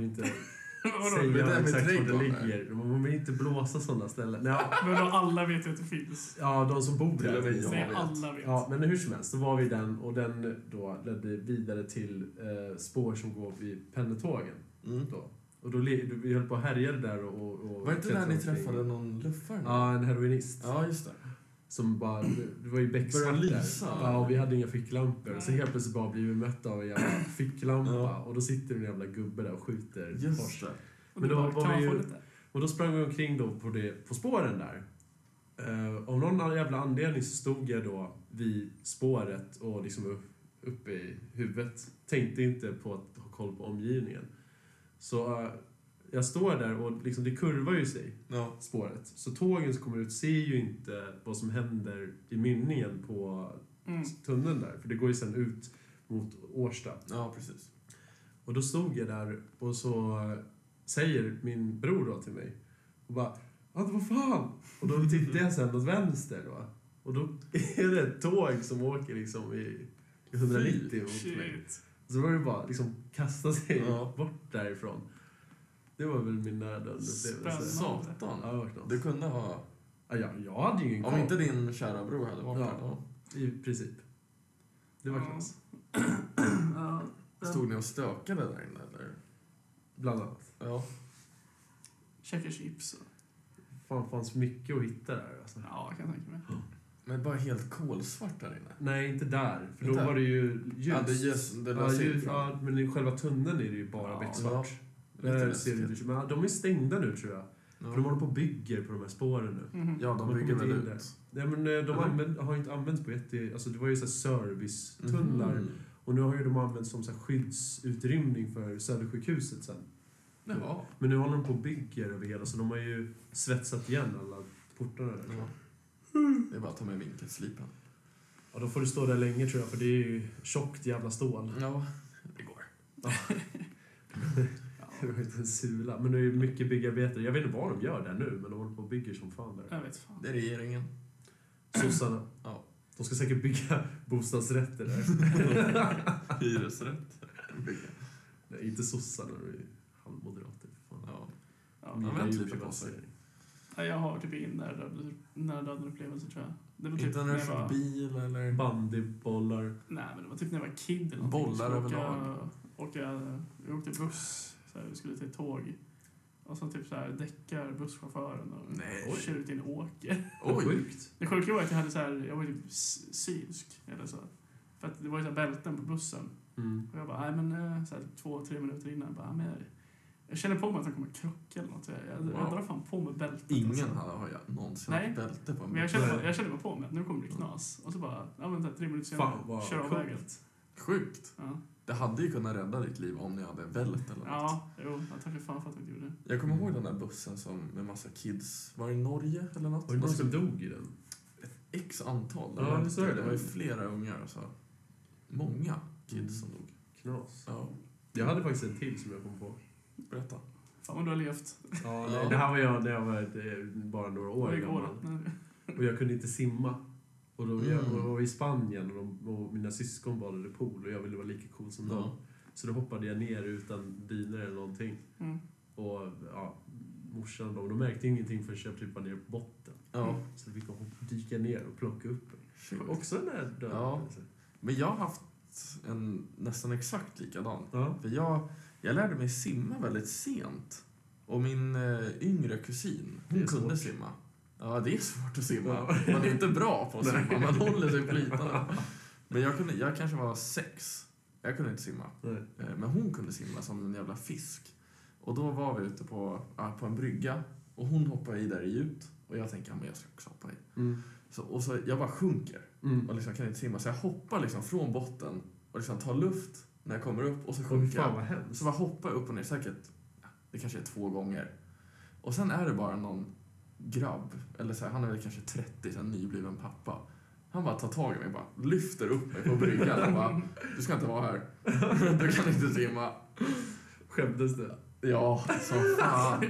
C: inte
A: Vadå?
D: det är
C: säga
D: där med
C: exakt var det
D: trädgården där.
C: ligger. Man vill inte blåsa sådana ställen. Ja,
A: Men då alla vet ju att det finns.
C: ja, de som bor
D: Till och med
C: där.
D: jag.
A: Nej,
D: vet.
A: alla vet.
C: Ja, men hur som helst, då var vi i den och den då ledde vidare till eh, spår som går vid pendeltågen.
D: Mm.
C: Då. Och då, le- vi höll på och härjade där och... och
D: Var det inte där ni
C: klättrade omkring.
D: träffade någon luffare?
C: Ja, en heroinist.
D: ja just det.
C: Som bara, det var ju becksvart
D: Började
C: där.
D: lysa.
C: Ja, och vi hade inga ficklampor.
A: Nej.
C: Så helt plötsligt bara blir vi mötta av en jävla ficklampa.
D: Ja.
C: Och då sitter en jävla gubbe där och skjuter
D: Just
C: kors.
D: det.
A: Och
C: men
A: du
C: då
A: bara,
C: var
A: kan
C: vi
A: man få
C: ju-
A: lite?
C: Och då sprang vi omkring då på, det, på spåren där. Eh, av någon jävla anledning så stod jag då vid spåret och liksom upp, uppe i huvudet. Tänkte inte på att ha koll på omgivningen. Så eh, jag står där och liksom det kurvar ju sig
D: Ja.
C: spåret. Så tågen som kommer ut ser ju inte vad som händer i mynningen på
A: Mm.
C: tunneln där. För det går ju sen ut mot Årsta.
D: ja, precis.
C: Och då stod jag där och så säger min bror då till mig och bara "Ante, vad fan? Och då tittar jag sen åt vänster då. Och då är det ett tåg som åker liksom i 190 mot mig.
A: Shit.
C: Så var det bara liksom kasta sig
D: Ja.
C: bort därifrån. Det var väl min nära döden-upplevelse.
A: Spännande.
C: Ja,
D: Satan.
C: det var knappt.
D: Du kunde ha...
C: Ja, jag, jag hade ju ingen
D: Om inte din kära bror hade varit
C: Ja.
D: där då.
C: I princip. Det var
A: Ja.
C: knas.
A: Ja,
D: Stod ni och stökade där inne eller?
C: Bland annat.
D: Ja.
A: käka chips och...
C: Fan, fanns mycket att hitta där alltså.
A: Ja, jag kan tänka mig.
D: Men bara helt kolsvart där inne.
C: Nej, inte där. För då
D: Inte?
C: var det ju ljus.
D: Ja, det är ljus. Det
C: ja,
D: löser
C: ljus,
D: in från-
C: ja, men i själva tunneln är det ju bara
A: Ja,
C: becksvart.
D: ja. Lite
C: Där
D: läskigt.
C: ser du inte. Eh, typ. Men de är stängda nu tror jag. För de håller på och bygger på de här spåren nu.
A: Mhm.
D: Ja, de
C: Man
D: bygger
C: kommer
D: väl
C: inte in där.
D: ut.
C: Nej, men eh, de
D: Eller?
C: använd, har ju inte använts på jätte... Alltså det var ju så här servicetunnlar.
D: Mhm.
C: Och nu har ju de använts som så här skyddsutrymning för Södersjukhuset sen.
D: Jaha.
C: Men nu håller de på och bygger över hela så de har ju svetsat igen alla portarna där.
D: Ja. Det är bara att ta med vinkelslipen.
C: Ja, då får du stå där länge tror jag för det är ju tjockt jävla stål.
D: Ja, det går.
C: Det var ju inte en sula. Men det är ju mycket byggarbetare. Jag vet inte vad de gör där nu men de håller på och bygger som fan där.
A: Jag vet fan.
D: Det är regeringen.
C: Sossarna.
D: Ja.
C: De ska säkert bygga bostadsrätter där.
D: Hyresrätt.
C: Nej, inte sossarna. De är ju halvmoderater. Fan.
D: Ja.
A: Ja,
C: De
D: men
A: men-
C: gillar
D: lite
C: ju
D: på sig.
C: privatisering.
A: Nej, jag har typ ingen nära döden- nära döden-upplevelse, tror jag. Det var typ
D: Inte när
A: när
D: du
A: jag var...
D: kör bil eller...
C: Bandybollar.
A: Nej, men det var typ när jag var kid eller någonting.
D: Bollar
A: Så
D: överlag.
A: Åka, åka, jag åkte buss, så här, vi skulle till tåg. Och så typ så här däckar busschauffören och
D: Nej.
A: kör ut i en åker.
C: Oj.
D: Oj!
C: Sjukt.
A: Det sjuka var att jag hade så här, jag var typ s- synsk eller så. För att det var ju så här bälten på bussen.
C: Mm.
A: Och jag bara, nej men eh, så här, två, tre minuter innan, jag bara, "Nej, men jag, jag känner på mig att jag kommer krocka eller något. Jag, jag, jag
D: Wow.
A: drar fan på mig bältet. alltså.
D: Ingen hade har jag någonsin
A: Nej.
D: haft bälte på en
A: Men jag kände,
C: Nej.
A: jag kände bara på mig att nu kommer det knas. Och så bara, ja men så här, tre minuter
C: Fan
A: senare,
C: vad
A: kör av
C: coolt.
A: vägen.
D: Sjukt!
A: Ja,
D: Det hade ju kunnat rädda ditt liv om ni hade vält eller något.
A: ja jo, jag tackar fan för att jag inte gjorde det.
D: Jag kommer ihåg den där bussen som med massa kids. Var det i Norge eller något?
C: Var det någon
D: De
C: som
D: skulle-
C: dog i den?
D: X antal.
C: Ja,
D: var
C: visst är det.
D: det var ju flera ungar. Så. Många kids som
C: Mm.
D: dog.
C: Knas.
D: Ja,
C: Jag hade faktiskt en till som jag kom på.
D: berätta.
A: Fan vad du har levt.
C: Ja, nej, det här var jag när jag var eh, bara några år
A: Vad
C: gammal.
A: igår. Nej.
C: Och jag kunde inte simma. Och då jag,
D: Mm.
C: och jag var i Spanien och, de, och mina syskon badade i pool och jag ville vara lika cool som dem.
D: Ja.
C: Så då hoppade jag ner utan dyner eller någonting.
A: Mm.
C: Och ja, morsan och de, de märkte ingenting förrän jag typ var nere på botten.
D: Ja.
C: Så då fick de hoppa- dyka ner och plocka upp mig.
D: Shit.
C: Också en där död.
D: Ja. Men jag har haft en nästan exakt likadan.
C: Ja.
D: För jag, jag lärde mig simma väldigt sent. Och min eh, yngre kusin,
C: Det är
D: hon kunde
C: svårt.
D: simma. Ja, det är svårt att simma.
C: Ja.
D: Man är inte bra på att
C: Nej.
D: simma, man håller sig flytande. Men jag, kunde, jag kanske var sex. Jag kunde inte simma.
C: Nej.
D: Eh, Men hon kunde simma som en jävla fisk. Och då var vi ute på, ja, på en brygga och hon hoppade i där i djupt. Och jag tänkte, ja, men jag ska också hoppa i.
C: Mm.
D: Så, och så jag bara sjunker
C: Mm.
D: och liksom kan inte simma. Så jag hoppar liksom från botten och liksom tar luft när jag kommer upp och så
C: Och
D: sjunker jag.
C: fan vad hemskt.
D: Så bara hoppa upp och ner säkert, ja, det kanske är två gånger. Och sen är det bara någon grabb, eller så här, han är väl kanske 30, så här, nybliven pappa. Han bara tar tag i mig och bara lyfter upp mig på bryggan och bara Du ska inte vara här. Du kan inte simma.
C: Skämdes det?
D: Ja, så fan.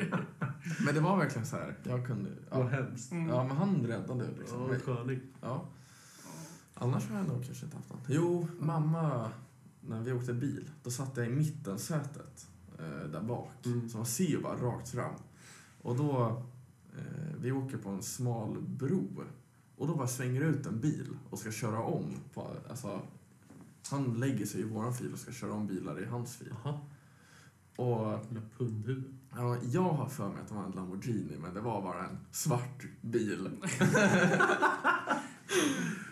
D: Men det var verkligen så här, jag kunde...
C: Vad
D: Ja,
C: hemskt.
A: Mm.
D: ja men han räddade liksom
C: Ja,
D: mig.
C: sköning.
D: Ja. Annars har jag nog kanske inte haft något. Jo, mamma, när vi åkte bil, då satt jag i mitten sätet eh, där bak.
C: Mm.
D: Så man ser ju bara rakt fram. Och då, eh, vi åker på en smal bro. Och då bara svänger ut en bil och ska köra om. På, alltså, han lägger sig i våran fil och ska köra om bilar i hans fil.
C: Jaha,
D: Och
C: jävla pundhuvud.
D: ja, jag har för mig att det var en Lamborghini, men det var bara en svart bil.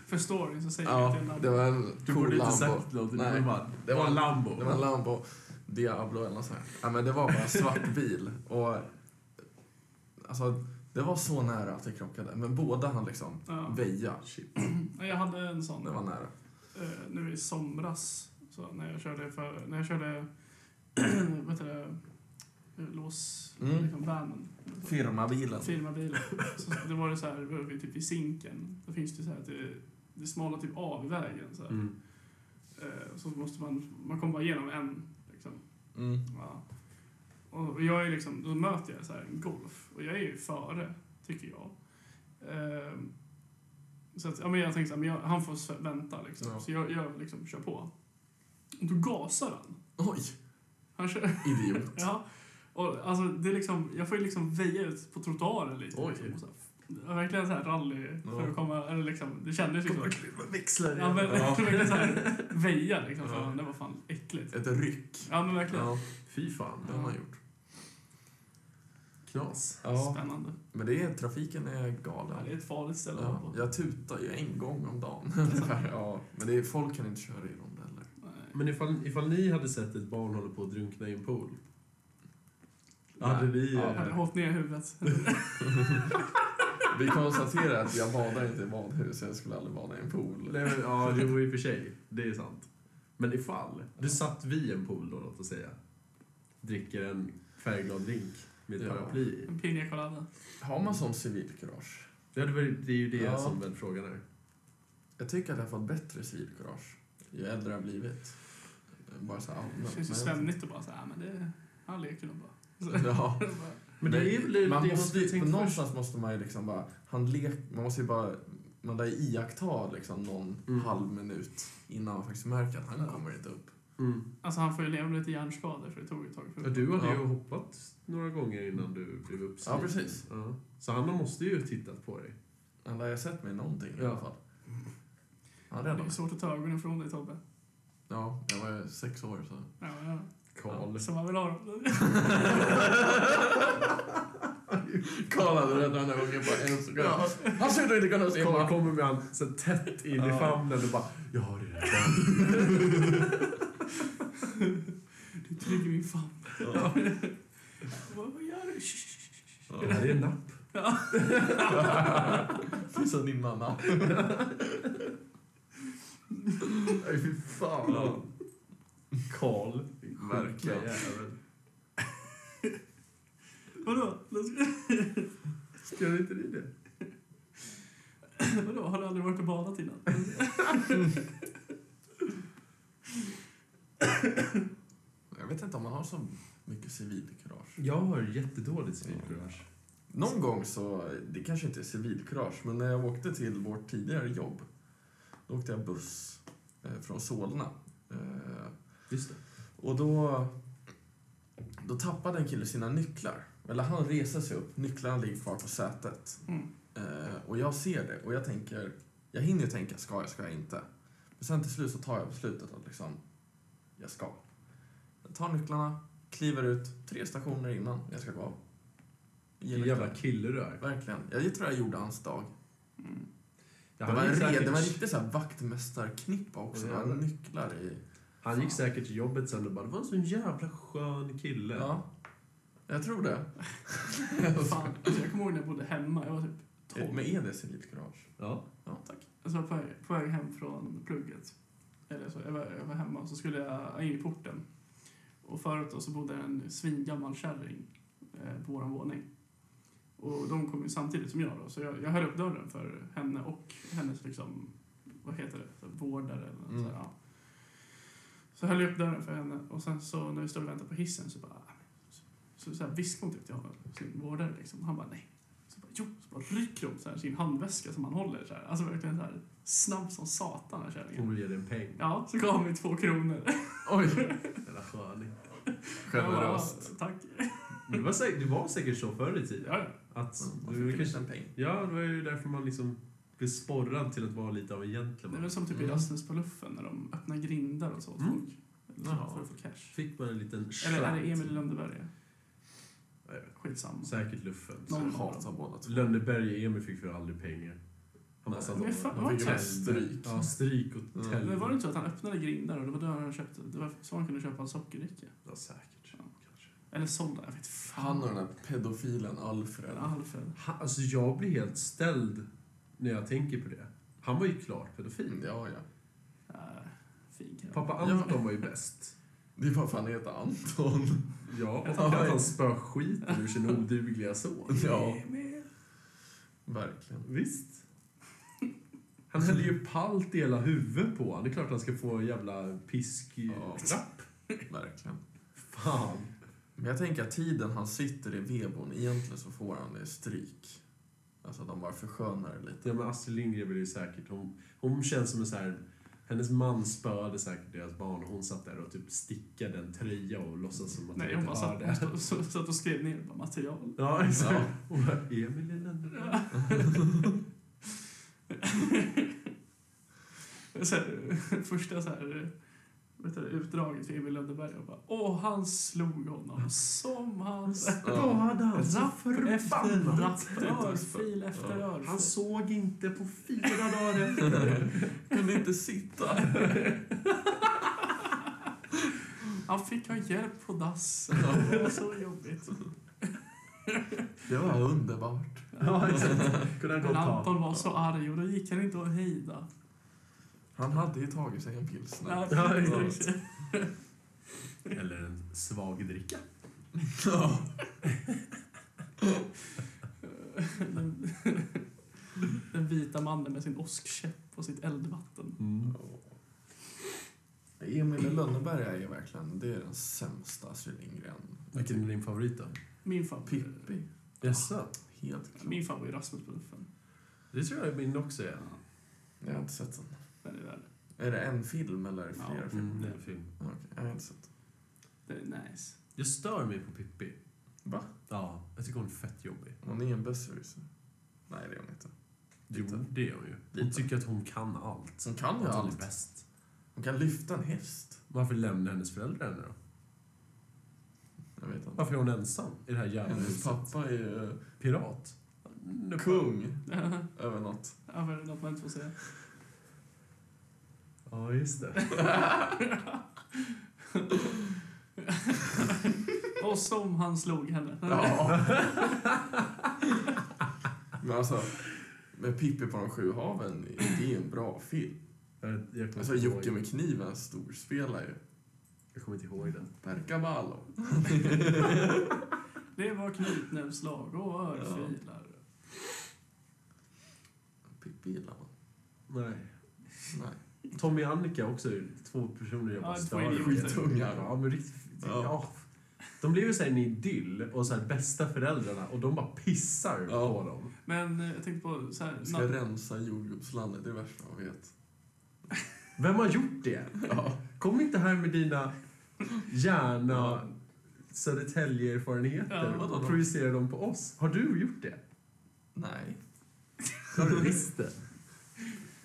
A: För storyn så säger jag
D: Ja,
A: till en
D: det
A: annan.
D: var en cool
C: Du borde inte
D: Lambo.
C: sagt någonting.
D: Nej.
C: Det var bara-
D: Det var en
C: Lambo.
D: Det var en Lambo Diablo eller något sånt. här. Ja, men det var bara en svart bil. Och, alltså, det var så nära att det krockade. Men båda han liksom
A: Ja.
D: väja.
A: Nej, Jag hade en sån
D: Det var nära.
A: eh, nu i somras. Så när jag körde, för, när jag körde vad heter det, eh, lås...
D: Mm.
A: Liksom vanen.
D: Firmabilen.
A: Firmabilen. Så det var det så här, vi var typ i sinken. Då finns det så här att det, det smalar typ av i vägen. Så, här.
C: Mm.
A: Eh, så måste man, man kommer bara igenom en. Liksom.
D: Mm.
A: Ja. Och jag är liksom, då möter jag så här en golf och jag är ju före, tycker jag. Ehm, så att, ja, men jag tänkte så här, men jag, han får s- vänta liksom.
D: Ja.
A: Så jag, jag liksom kör på. Då gasar han.
D: Oj,
A: Han kör...
D: idiot.
A: Ja. Och, alltså, det är liksom, jag får ju liksom väja ut på trottoaren lite.
D: Oj.
A: Liksom, och så här, f- verkligen så här rally. För
D: Ja.
A: att komma, eller liksom, det kändes ju så.
B: Växlar
A: Ja, men,
D: Ja.
A: verkligen så här, väja liksom. För
D: Ja.
A: Det var fan äckligt.
D: Ett ryck.
A: Ja, men verkligen.
D: Ja,
C: Fy fan.
D: det har man gjort.
C: Knas.
D: Ja,
A: Spännande.
D: men det är, trafiken är
A: Ja,
D: galen.
A: det är ett farligt ställe att vara
D: Ja,
A: på.
D: jag tutar ju en gång om dagen. ja, men det är, folk kan inte köra i rondeller.
A: Nej.
C: Men ifall, ifall ni hade sett ett barn hålla på att drunkna i en pool. Hade
D: Nej.
C: ni...
A: Jag hade
C: eh,
A: hållit ner huvudet.
D: Vi konstaterar att jag badar inte i badhus, jag skulle aldrig bada i en pool.
C: nej, men, ja, jo i och för sig. Det är sant. Men ifall. Du satt vid en pool då, låt oss säga. Dricker en färgglad drink med ett
D: Ja.
C: paraply i.
A: En piña colada.
D: Har man sån civilkurage?
C: Ja, det, var, det är ju det
D: Ja.
C: som väl frågan är.
D: Jag tycker att jag har fått bättre civilkurage ju äldre jag har blivit. Bara så här
A: Det
D: allmänt.
A: känns ju
D: Men-
A: svennigt att bara säga, men det... Han leker nog bara.
D: Ja.
C: Men det är väl
D: man
C: det man
D: måste,
C: du
D: ju-
C: tänkte först.
D: Någonstans måste man ju liksom bara... Han lek, man måste ju bara... Man lär ju iaktta liksom någon
C: Mm.
D: halv minut innan man faktiskt märker att han
A: Ja.
D: kommer inte upp.
C: Mm.
A: Alltså han får ju leva med lite hjärnskador för det tog ett tag.
C: Ja, du hade ju
D: Ja.
C: hoppat några gånger innan du blev
D: Ja,
C: uppsnuten.
D: precis.
C: Ja. Så han måste ju ha tittat på dig.
D: Han lär ju ha sett mig någonting i
C: Ja.
D: alla fall. Han
A: det
D: räddade
A: är
D: mig.
A: svårt att ta ögonen från dig Tobbe.
D: Ja, jag var ju sex år så...
A: Ja, ja.
C: Karl.
A: Som man vill ha dem.
D: Karl hade räddat den där ungen på en sekund. Han skulle inte kunna se
C: Karl
D: mig.
C: kommer med han så tätt in i
D: Ja.
C: famnen och bara Jag har det där.
A: Du trygg i min famn. Vad vad gör du? Shh, shh, shh.
C: Det här är en napp.
D: Precis som din mamma.
C: Nej, fy fan. Karl.
D: Verkligen.
C: Sjuka jävel.
A: Vadå?
C: Skrev inte ni det?
A: Vadå? Har du aldrig varit och badat innan?
D: Jag vet inte om man har så mycket civilkurage.
C: Jag har jättedåligt civilkurage.
D: Någon gång så, det kanske inte är civilkurage, men när jag åkte till vårt tidigare jobb, då åkte jag buss eh, från Solna. Eh,
C: Just det.
D: och då, då tappade en kille sina nycklar. Eller han reser sig upp, nycklarna ligger kvar på sätet.
A: Mm.
D: Eh, och jag ser det och jag tänker, jag hinner ju tänka, ska jag, ska jag inte? Men sen till slut så tar jag beslutet att liksom, jag ska. Jag tar nycklarna, kliver ut tre stationer innan jag ska gå av. Ger
C: Vilken jävla
D: nycklarna.
C: kille du är.
D: Verkligen. Jag tror jag gjorde hans dag.
A: Mm.
C: Ja,
D: det,
C: han,
D: var en
C: gick
D: red,
C: säkert,
D: det var en riktig så här vaktmästarknippa också.
C: Åh,
D: Det var
C: jävlar.
D: nycklar i.
C: han gick säkert till jobbet sen och bara Det var en sån jävla skön kille.
D: Ja. Jag tror det.
A: Fan. Alltså, jag kommer ihåg när jag bodde hemma. Jag var typ 12.
D: Men
C: E,
D: är det civilkurage?
C: Ja.
A: Alltså, jag var på väg, på väg hem från plugget. Eller så, jag, var, jag var hemma och så skulle jag in i porten. Och förut då så bodde en svingammal kärring eh, på vår våning. Och de kom ju samtidigt som jag då. Så jag, jag höll upp dörren för henne och hennes liksom, vad heter det, så här, vårdare eller något
D: Mm.
A: så, här, ja. så höll jag upp dörren för henne och sen så när vi stod och väntade på hissen så bara så, så här, viskade hon typ till honom, sin vårdare liksom. Han bara nej. Så bara jo, så bara rycker hon så här, sin handväska som han håller så här. Alltså verkligen så här snabb som satan den här
C: Hon
A: kärringen.
C: vill ge dig en peng.
A: Ja, så gav han mig två kronor.
D: Oj,
C: Jävla sköning.
D: generöst.
A: Jag bara, Tack.
C: Men Det var, säkert, det var säkert så förr i tiden.
A: Ja, ja.
C: Att
D: Man
C: du
D: fick en
C: kanske
D: liten peng.
C: Ja, det var ju därför man liksom blev sporrad till att vara lite av en
A: Det är
C: gentleman.
A: väl som typ i
D: Mm.
A: Rasmus på luffen när de öppnar grindar och så åt
C: Mm.
A: folk.
C: Jaha.
A: För att få cash.
C: Fick man en liten
A: Eller är det
C: slant.
A: Emil i Lönneberga?
C: Ja, jag vet.
A: Skitsamma.
C: Säkert luffen.
A: Någon
D: Jag
A: av dem.
D: hatar båda två.
C: Lönneberg och Emil fick för aldrig pengar. Han bara
D: Nej,
C: satt
A: men
C: och-
A: fan,
C: de
A: vad
C: fick
A: kul.
C: en-
D: Stryk.
C: Ja, stryk och
D: Mm.
C: tält.
A: Men var det inte så att han öppnade grindar och det var då han köpte, det var så han kunde köpa en sockerdricka?
C: Ja, säkert.
A: Ja.
C: Kanske.
A: Eller sålde, jag vet fan.
D: Han och den där pedofilen Alfred. Ah,
A: Eller Alfred.
C: Han, alltså, jag blir helt ställd när jag tänker på det. Han var ju klart pedofil.
D: Mm, Ja, ja.
A: Äh, fin kille.
C: Pappa Anton var ju bäst.
D: Det är bara för att han heter Anton.
C: Ja, och
D: Ja,
C: att
D: ja.
C: han spöar skiten ur sin odugliga son.
D: Ja.
A: Emil.
D: Verkligen.
C: Visst. Han hällde ju palt i hela huvudet på honom. Det är klart han ska få en jävla pisk...
D: Ja.
C: Ja.
D: Verkligen.
C: Fan.
D: Men jag tänker att tiden han sitter i vebon, egentligen så får han det stryk. Alltså de bara förskönar det lite.
C: Ja, men Astrid Lindgren blir ju säkert... Hon, hon känns som en så här Hennes man spöade säkert deras barn och hon satt där och typ stickade en tröja och låtsas som att
A: Nej,
C: hon
A: hon
C: inte
A: bara
C: hörde.
A: satt, hon stod- satt och skrev ner bara, material.
C: Ja, exakt. Hon bara, Emil är den
A: Ja. så här, första så här, vet du, utdraget för Emil Lönneberg. Jag bara, åh, han slog honom som han...
C: Skadade han så
A: Rapp efter
C: förbannat?
A: rapp, örfil efter örfil.
C: Han såg inte på fyra dagar efter det.
D: Kunde inte sitta.
A: Han fick ha hjälp på dassen. Det var så jobbigt.
D: Det var underbart.
C: Ja, exakt. Kunde han gå
A: Men
C: och ta.
A: Anton var så arg och då gick han inte att hejda.
D: Han hade ju tagit sig en pilsner.
C: Ja,
A: precis.
C: Eller en svag dricka.
D: Ja.
A: den, Eh, den vita mannen med sin åskkäpp och sitt eldvatten.
D: Mm. Emil i Lönneberga är ju verkligen det är den sämsta Astrid Lindgren.
C: Vilken är din favorit då?
A: Min favorit.
D: Pippi.
C: Jaså?
D: Helt klart.
A: Min favorit är Rasmus på luffen.
C: Det tror jag min också är.
D: Jag har inte sett den.
A: Den är värd.
D: Är det en film eller är det flera
A: Ja.
D: filmer?
C: Mm, det är en film.
D: Okej, jag har inte sett den.
A: Den är nice.
C: Jag stör mig på Pippi.
D: Va?
C: Ja, jag tycker hon är fett jobbig.
D: Hon är en besserwisser. Nej, det är hon inte.
C: Jo,
D: Lite.
C: det gör hon ju. Hon
D: Lite.
C: tycker att hon kan allt.
D: Hon kan ju
C: Att Hon är
D: allt.
C: bäst.
D: Hon kan lyfta en häst.
C: Varför lämnar hennes föräldrar henne då?
D: Jag vet inte.
C: Varför är hon ensam i det här jävla
D: Hennes
C: huset?
D: pappa är ju
C: Pirat? Nu-
D: kung
A: Ja,
D: över något.
A: men det är något man inte får säga.
C: Ja, just det.
A: Och som han slog henne.
D: Ja. Men alltså, med Pippi på de sju haven, det är en bra film.
C: Jag, jag kommer
D: Alltså
C: inte
D: Jocke
C: ihåg-
D: med kniven storspelar ju.
C: Jag kommer inte ihåg den.
D: Percavallo.
A: Det var knytnävsslag och örfilar.
D: Pippi gillar man.
C: Nej.
D: Nej.
C: Tommy och Annika också är två personer jag
A: Ja,
C: bara
A: två
C: stör mig.
A: idioter.
D: Skitungar.
C: Ja, men riktigt...
D: Ja.
C: Ja. De blir ju såhär en idyll och såhär bästa föräldrarna och de bara pissar
D: Ja.
C: på dem.
A: Men eh, jag tänkte på så här,
D: Vi ska
A: na-
D: rensa jordgubbslandet, det är det värsta man vet.
C: Vem har gjort det?
D: Ja.
C: Kom inte här med dina hjärna Södertälje-erfarenheter
A: Ja, vadå
C: och
D: då?
C: projicera dem på oss. Har du gjort det?
D: Nej.
C: Har du visst det?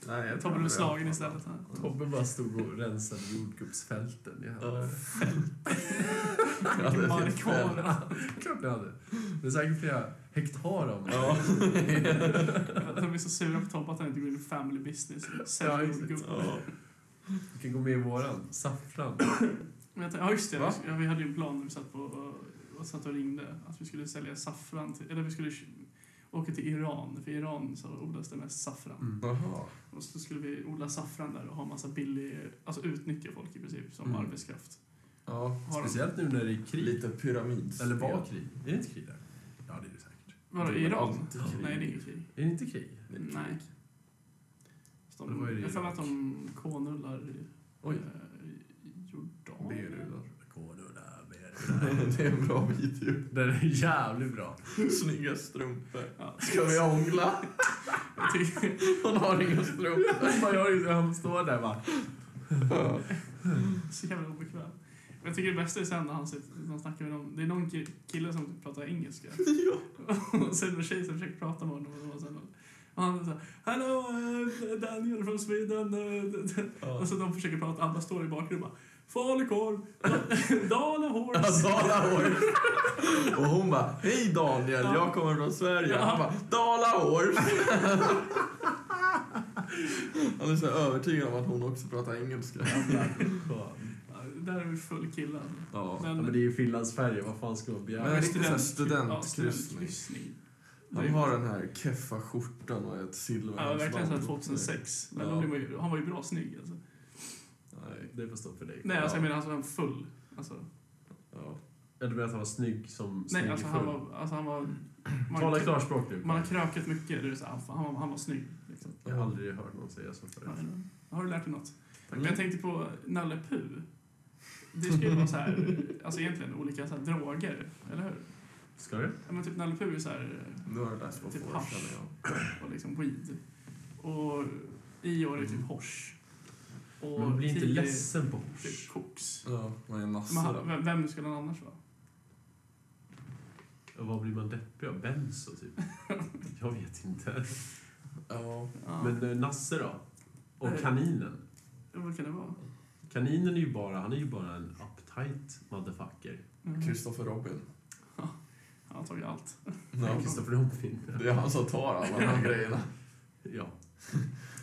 D: Nej, jag tror
A: tar du
D: aldrig
A: slagen
D: jag-
A: istället. Här.
C: Tobbe bara stod och rensade jordgubbsfälten. Jag hade
D: Ja.
A: Ja,
D: det är
A: Markkvarnar.
C: Klart ni hade. Det är säkert flera hektar av dem.
D: Ja.
A: De är så sura på Tobbe att han inte går in i family business.
C: Ja,
A: Säljer
C: exakt.
A: jordgubbar.
D: Ja.
C: Du kan gå med i våran. Saffran.
A: Men jag tänkte, ja just det,
D: Va?
A: ja, vi hade ju en plan när vi satt, på, och satt och ringde att vi skulle sälja saffran, till, eller vi skulle åka till Iran, för i Iran så odlas det mest saffran.
C: Mm.
D: Jaha.
A: Och så skulle vi odla saffran där och ha massa billig, alltså utnyttja folk i princip som
C: Mm.
A: arbetskraft.
D: Ja.
A: Har de-
C: Speciellt nu när det är krig.
D: Lite pyramid.
C: Eller var krig? Är det inte krig där? Ja, det är det säkert.
A: Vadå,
D: Det
A: i
D: är
A: Iran?
D: alltid krig.
A: Nej, det är inget krig.
C: Är det inte krig?
A: Nej. Så
C: Det var
A: De,
C: ju det
A: jag har för mig
C: Irak.
A: att de konullar i
D: Oj.
A: eh, i Jordanien.
D: Berudar.
C: Kårorna,
D: Det är en bra video.
C: Den är jävligt bra.
D: Snygga strumpor.
A: Ja.
D: Ska vi ångla?
A: Jag tycker-
D: Hon har inga strumpor.
C: Man gör ju- Han står där bara.
A: Så jävla obekväm. Men jag tycker det bästa är sen när han, sitter, när han snackar med någon. Det är någon ki- kille som pratar engelska. och sen en tjej som försöker prata med honom. Och, sen, och han säger Hello, eh, Daniel från Sweden. eh." Och så de försöker prata, alla står i bakgrunden och bara Falukorv, Da- Dala Horse.
D: Dalahorf. Och hon bara, hej Daniel, jag kommer från Sverige. Han bara, Dalahorf. Han är så här övertygad om att hon också pratar engelska.
A: Ja, Där är vi full killar.
D: Ja.
C: Ja, men det är ju Finlandsfärger, vad fan ska man
D: Men det är
C: begära?
D: riktigt så här
A: ja,
D: studentkryssning.
A: studentkryssning.
D: Han har den här keffa skjortan och ett
A: Ja,
D: silverhalsband.
A: verkligen såhär 2006. Men då
D: Ja.
A: blir man ju, han var ju bra snygg alltså.
D: Nej.
C: Det får stå för dig.
A: Nej, alltså jag
D: Ja.
A: menar alltså, han var full. Alltså,
D: Ja.
C: Ja, du menar att han var snygg som snygg
A: nej,
C: i
A: alltså han
C: full?
A: var... Alltså, han var man-
C: Tala klarspråk nu.
A: Man har krökat mycket. Du är så, här, fan, han, var- han var snygg. Liksom.
C: Jag har aldrig hört någon säga så förut.
A: Har du lärt dig något? Men jag tänkte på Nalle Puh. Det skulle ju vara så här, alltså egentligen olika så här, droger, eller hur?
C: Ska du?
A: Ja, men typ Nalle Puh är så här,
D: Nu har det läst på
A: Typ
D: får,
A: hasch.
D: känner jag.
A: och liksom weed. Och i år är det typ hosh. och
C: Man blir inte
A: tio
C: ledsen på Hosh.
A: koks.
D: Ja, man är nasse
A: Men
D: då.
A: han- vem- Vem skulle han annars vara?
C: Ja, Vad blir man deppig av? Benzo, typ? Jag vet inte.
D: Ja.
A: Ja.
C: Men eh, Nasse då? Och
A: Nej.
C: kaninen?
A: Vad kan det vara?
C: Kaninen är ju bara, han är ju bara en uptight motherfucker.
A: Mm.
D: Christopher Robin.
A: Han har tagit allt.
D: Ja.
C: Kristoffer Robin.
D: Det är han som tar alla de här grejerna.
C: Ja.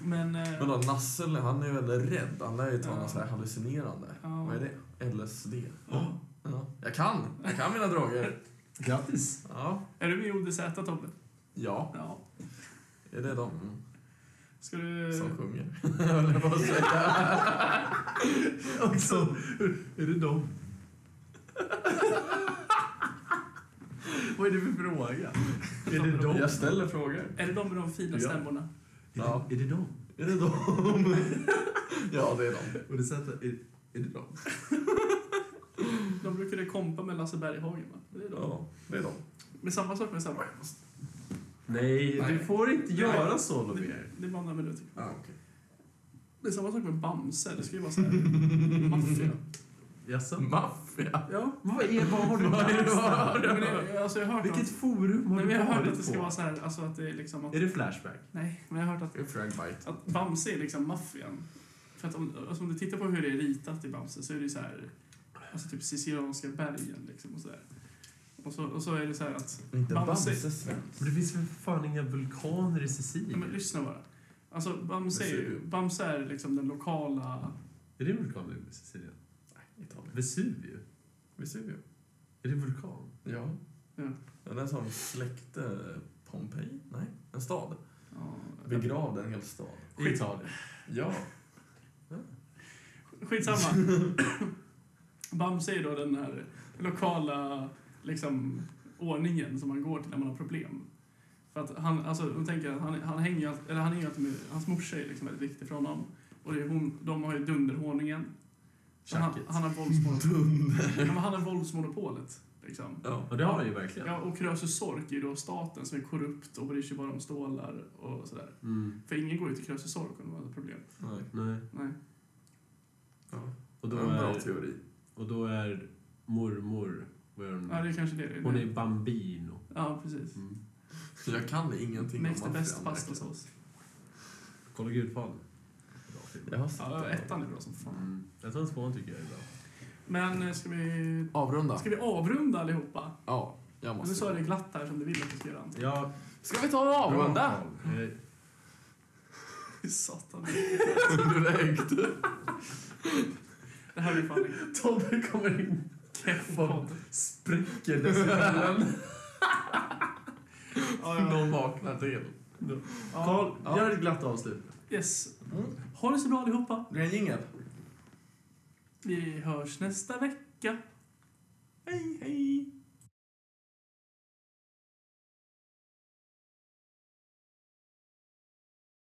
A: Men... eh,
D: Men då, Nassel, han är väl rädd. Han lär ju ta
A: Ja.
D: något så här hallucinerande.
A: ja.
D: Vad är det? LSD. Ja. Jag kan! Jag kan mina droger.
C: Grattis!
D: Ja.
A: Är du med i ODZ, Tobbe?
D: Ja,
A: Ja.
D: är det de
A: Ska du...
D: som sjunger? Höll jag på att säga.
C: Också, är det dem? Vad är det för fråga? Är det dem?
D: Jag ställer frågor.
A: Är det de med de fina
C: Ja.
A: stämmorna?
D: Ja.
C: Är det, är det dem?
D: Är det de? Ja, det är de.
C: Och det sätter, är, är det dem?
A: De brukade kompa med Lasse Berghagen, va? Det är de.
D: Ja, det är de.
A: Men samma sak med samma.
C: Nej,
D: Nej.
C: du får inte
A: Nej.
C: göra så Lovier.
A: Det, det är bara några minuter.
D: Ja, Ah, okej.
A: Det är samma sak med Bamse. Det ska ju vara så här... maffia.
C: Jaså?
D: Maffia.
A: Ja.
C: Men Vad, är, vad har du
D: Vad är det du
C: läst?
D: har?
A: Men jag, alltså, jag har hört
C: Vilket
A: att,
C: forum har
A: Nej,
C: du
A: men jag har hört
C: varit
A: att det ska
C: på?
A: vara så här, alltså att det är liksom att...
C: Är det Flashback?
A: Nej, men jag har hört att,
D: Det är fragbite.
A: att Bamse är liksom maffian. För att om, alltså, om du tittar på hur det är ritat i Bamse så är det ju så här... Alltså typ Sicilianska bergen liksom och så där. Och så, och så är det så här att...
D: Inte
A: Bamse.
D: Bamse svensk.
C: Men det finns för fan inga vulkaner i
A: Ja, men
C: Sicilien?
A: lyssna bara. Alltså Bamse är, ju-
D: Vesuv.
A: Bamse är liksom den lokala...
C: Är det vulkaner i Sicilien?
D: Nej, Italien.
C: Vesuvio?
D: Vesuvio.
C: Är det vulkan?
D: Ja.
A: Ja.
D: Den där som släckte Pompeji? Nej, en stad.
A: Ja,
D: Begravde en hel stad.
C: I Italien?
D: Ja.
A: Skitsamma. Bamse är då den här lokala liksom, ordningen som man går till när man har problem. För att han, alltså, de tänker att han, han hänger ju allt- eller han hänger ju alltid med, hans morsa är liksom väldigt viktig för honom. Och det är hon, de har ju dunderhåningen. Så Han,
C: Tjacket.
A: han har våldsmonopolet. ja, men han har våldsmonopolet. Liksom.
D: ja.
C: Ja, det har han ju verkligen.
A: Ja, och Krösus Sork är ju då staten som är korrupt och bryr sig bara om stålar och sådär.
C: Mm,
A: För ingen går ju till Krösus Sork om de har ett problem.
D: Nej.
C: nej.
A: Nej.
D: Ja.
C: Och
D: det
C: då,
D: var en bra
C: är,
D: teori.
C: och då är mormor... Vad gör hon?
A: Ja, det är kanske det det
C: Hon är bambino.
A: Ja, precis.
C: Mm.
D: Jag kan ingenting
A: Makes the
D: om
A: best
D: maffian, verkligen.
A: pastasås.
C: Kolla Gudfadern. Bra film.
D: Jag har sett
A: Ja,
D: den.
A: ettan är bra som fan.
C: Mm. Jag tror att tvåan tycker jag är bra.
A: Men eh, ska vi,
D: Avrunda.
A: ska vi avrunda allihopa?
D: Ja, jag
A: Nu
D: måste.
A: sa jag det glatt här som du vill att vi ska göra. Anton.
C: Ja,
D: Ska vi ta och avrunda?
C: bra tal. Eh,
A: Satan.
D: Direkt.
A: Det här blir fan en
C: Tobbe kommer in
A: keff podd.
C: spräcker decibelen.
A: Ja,
D: Någon vaknar till.
A: ja.
C: Karl, gör ett glatt avslut.
A: Yes.
D: Mm.
A: Ha det så bra allihopa.
D: Det är en jingel.
A: Vi hörs nästa vecka. Hej, hej.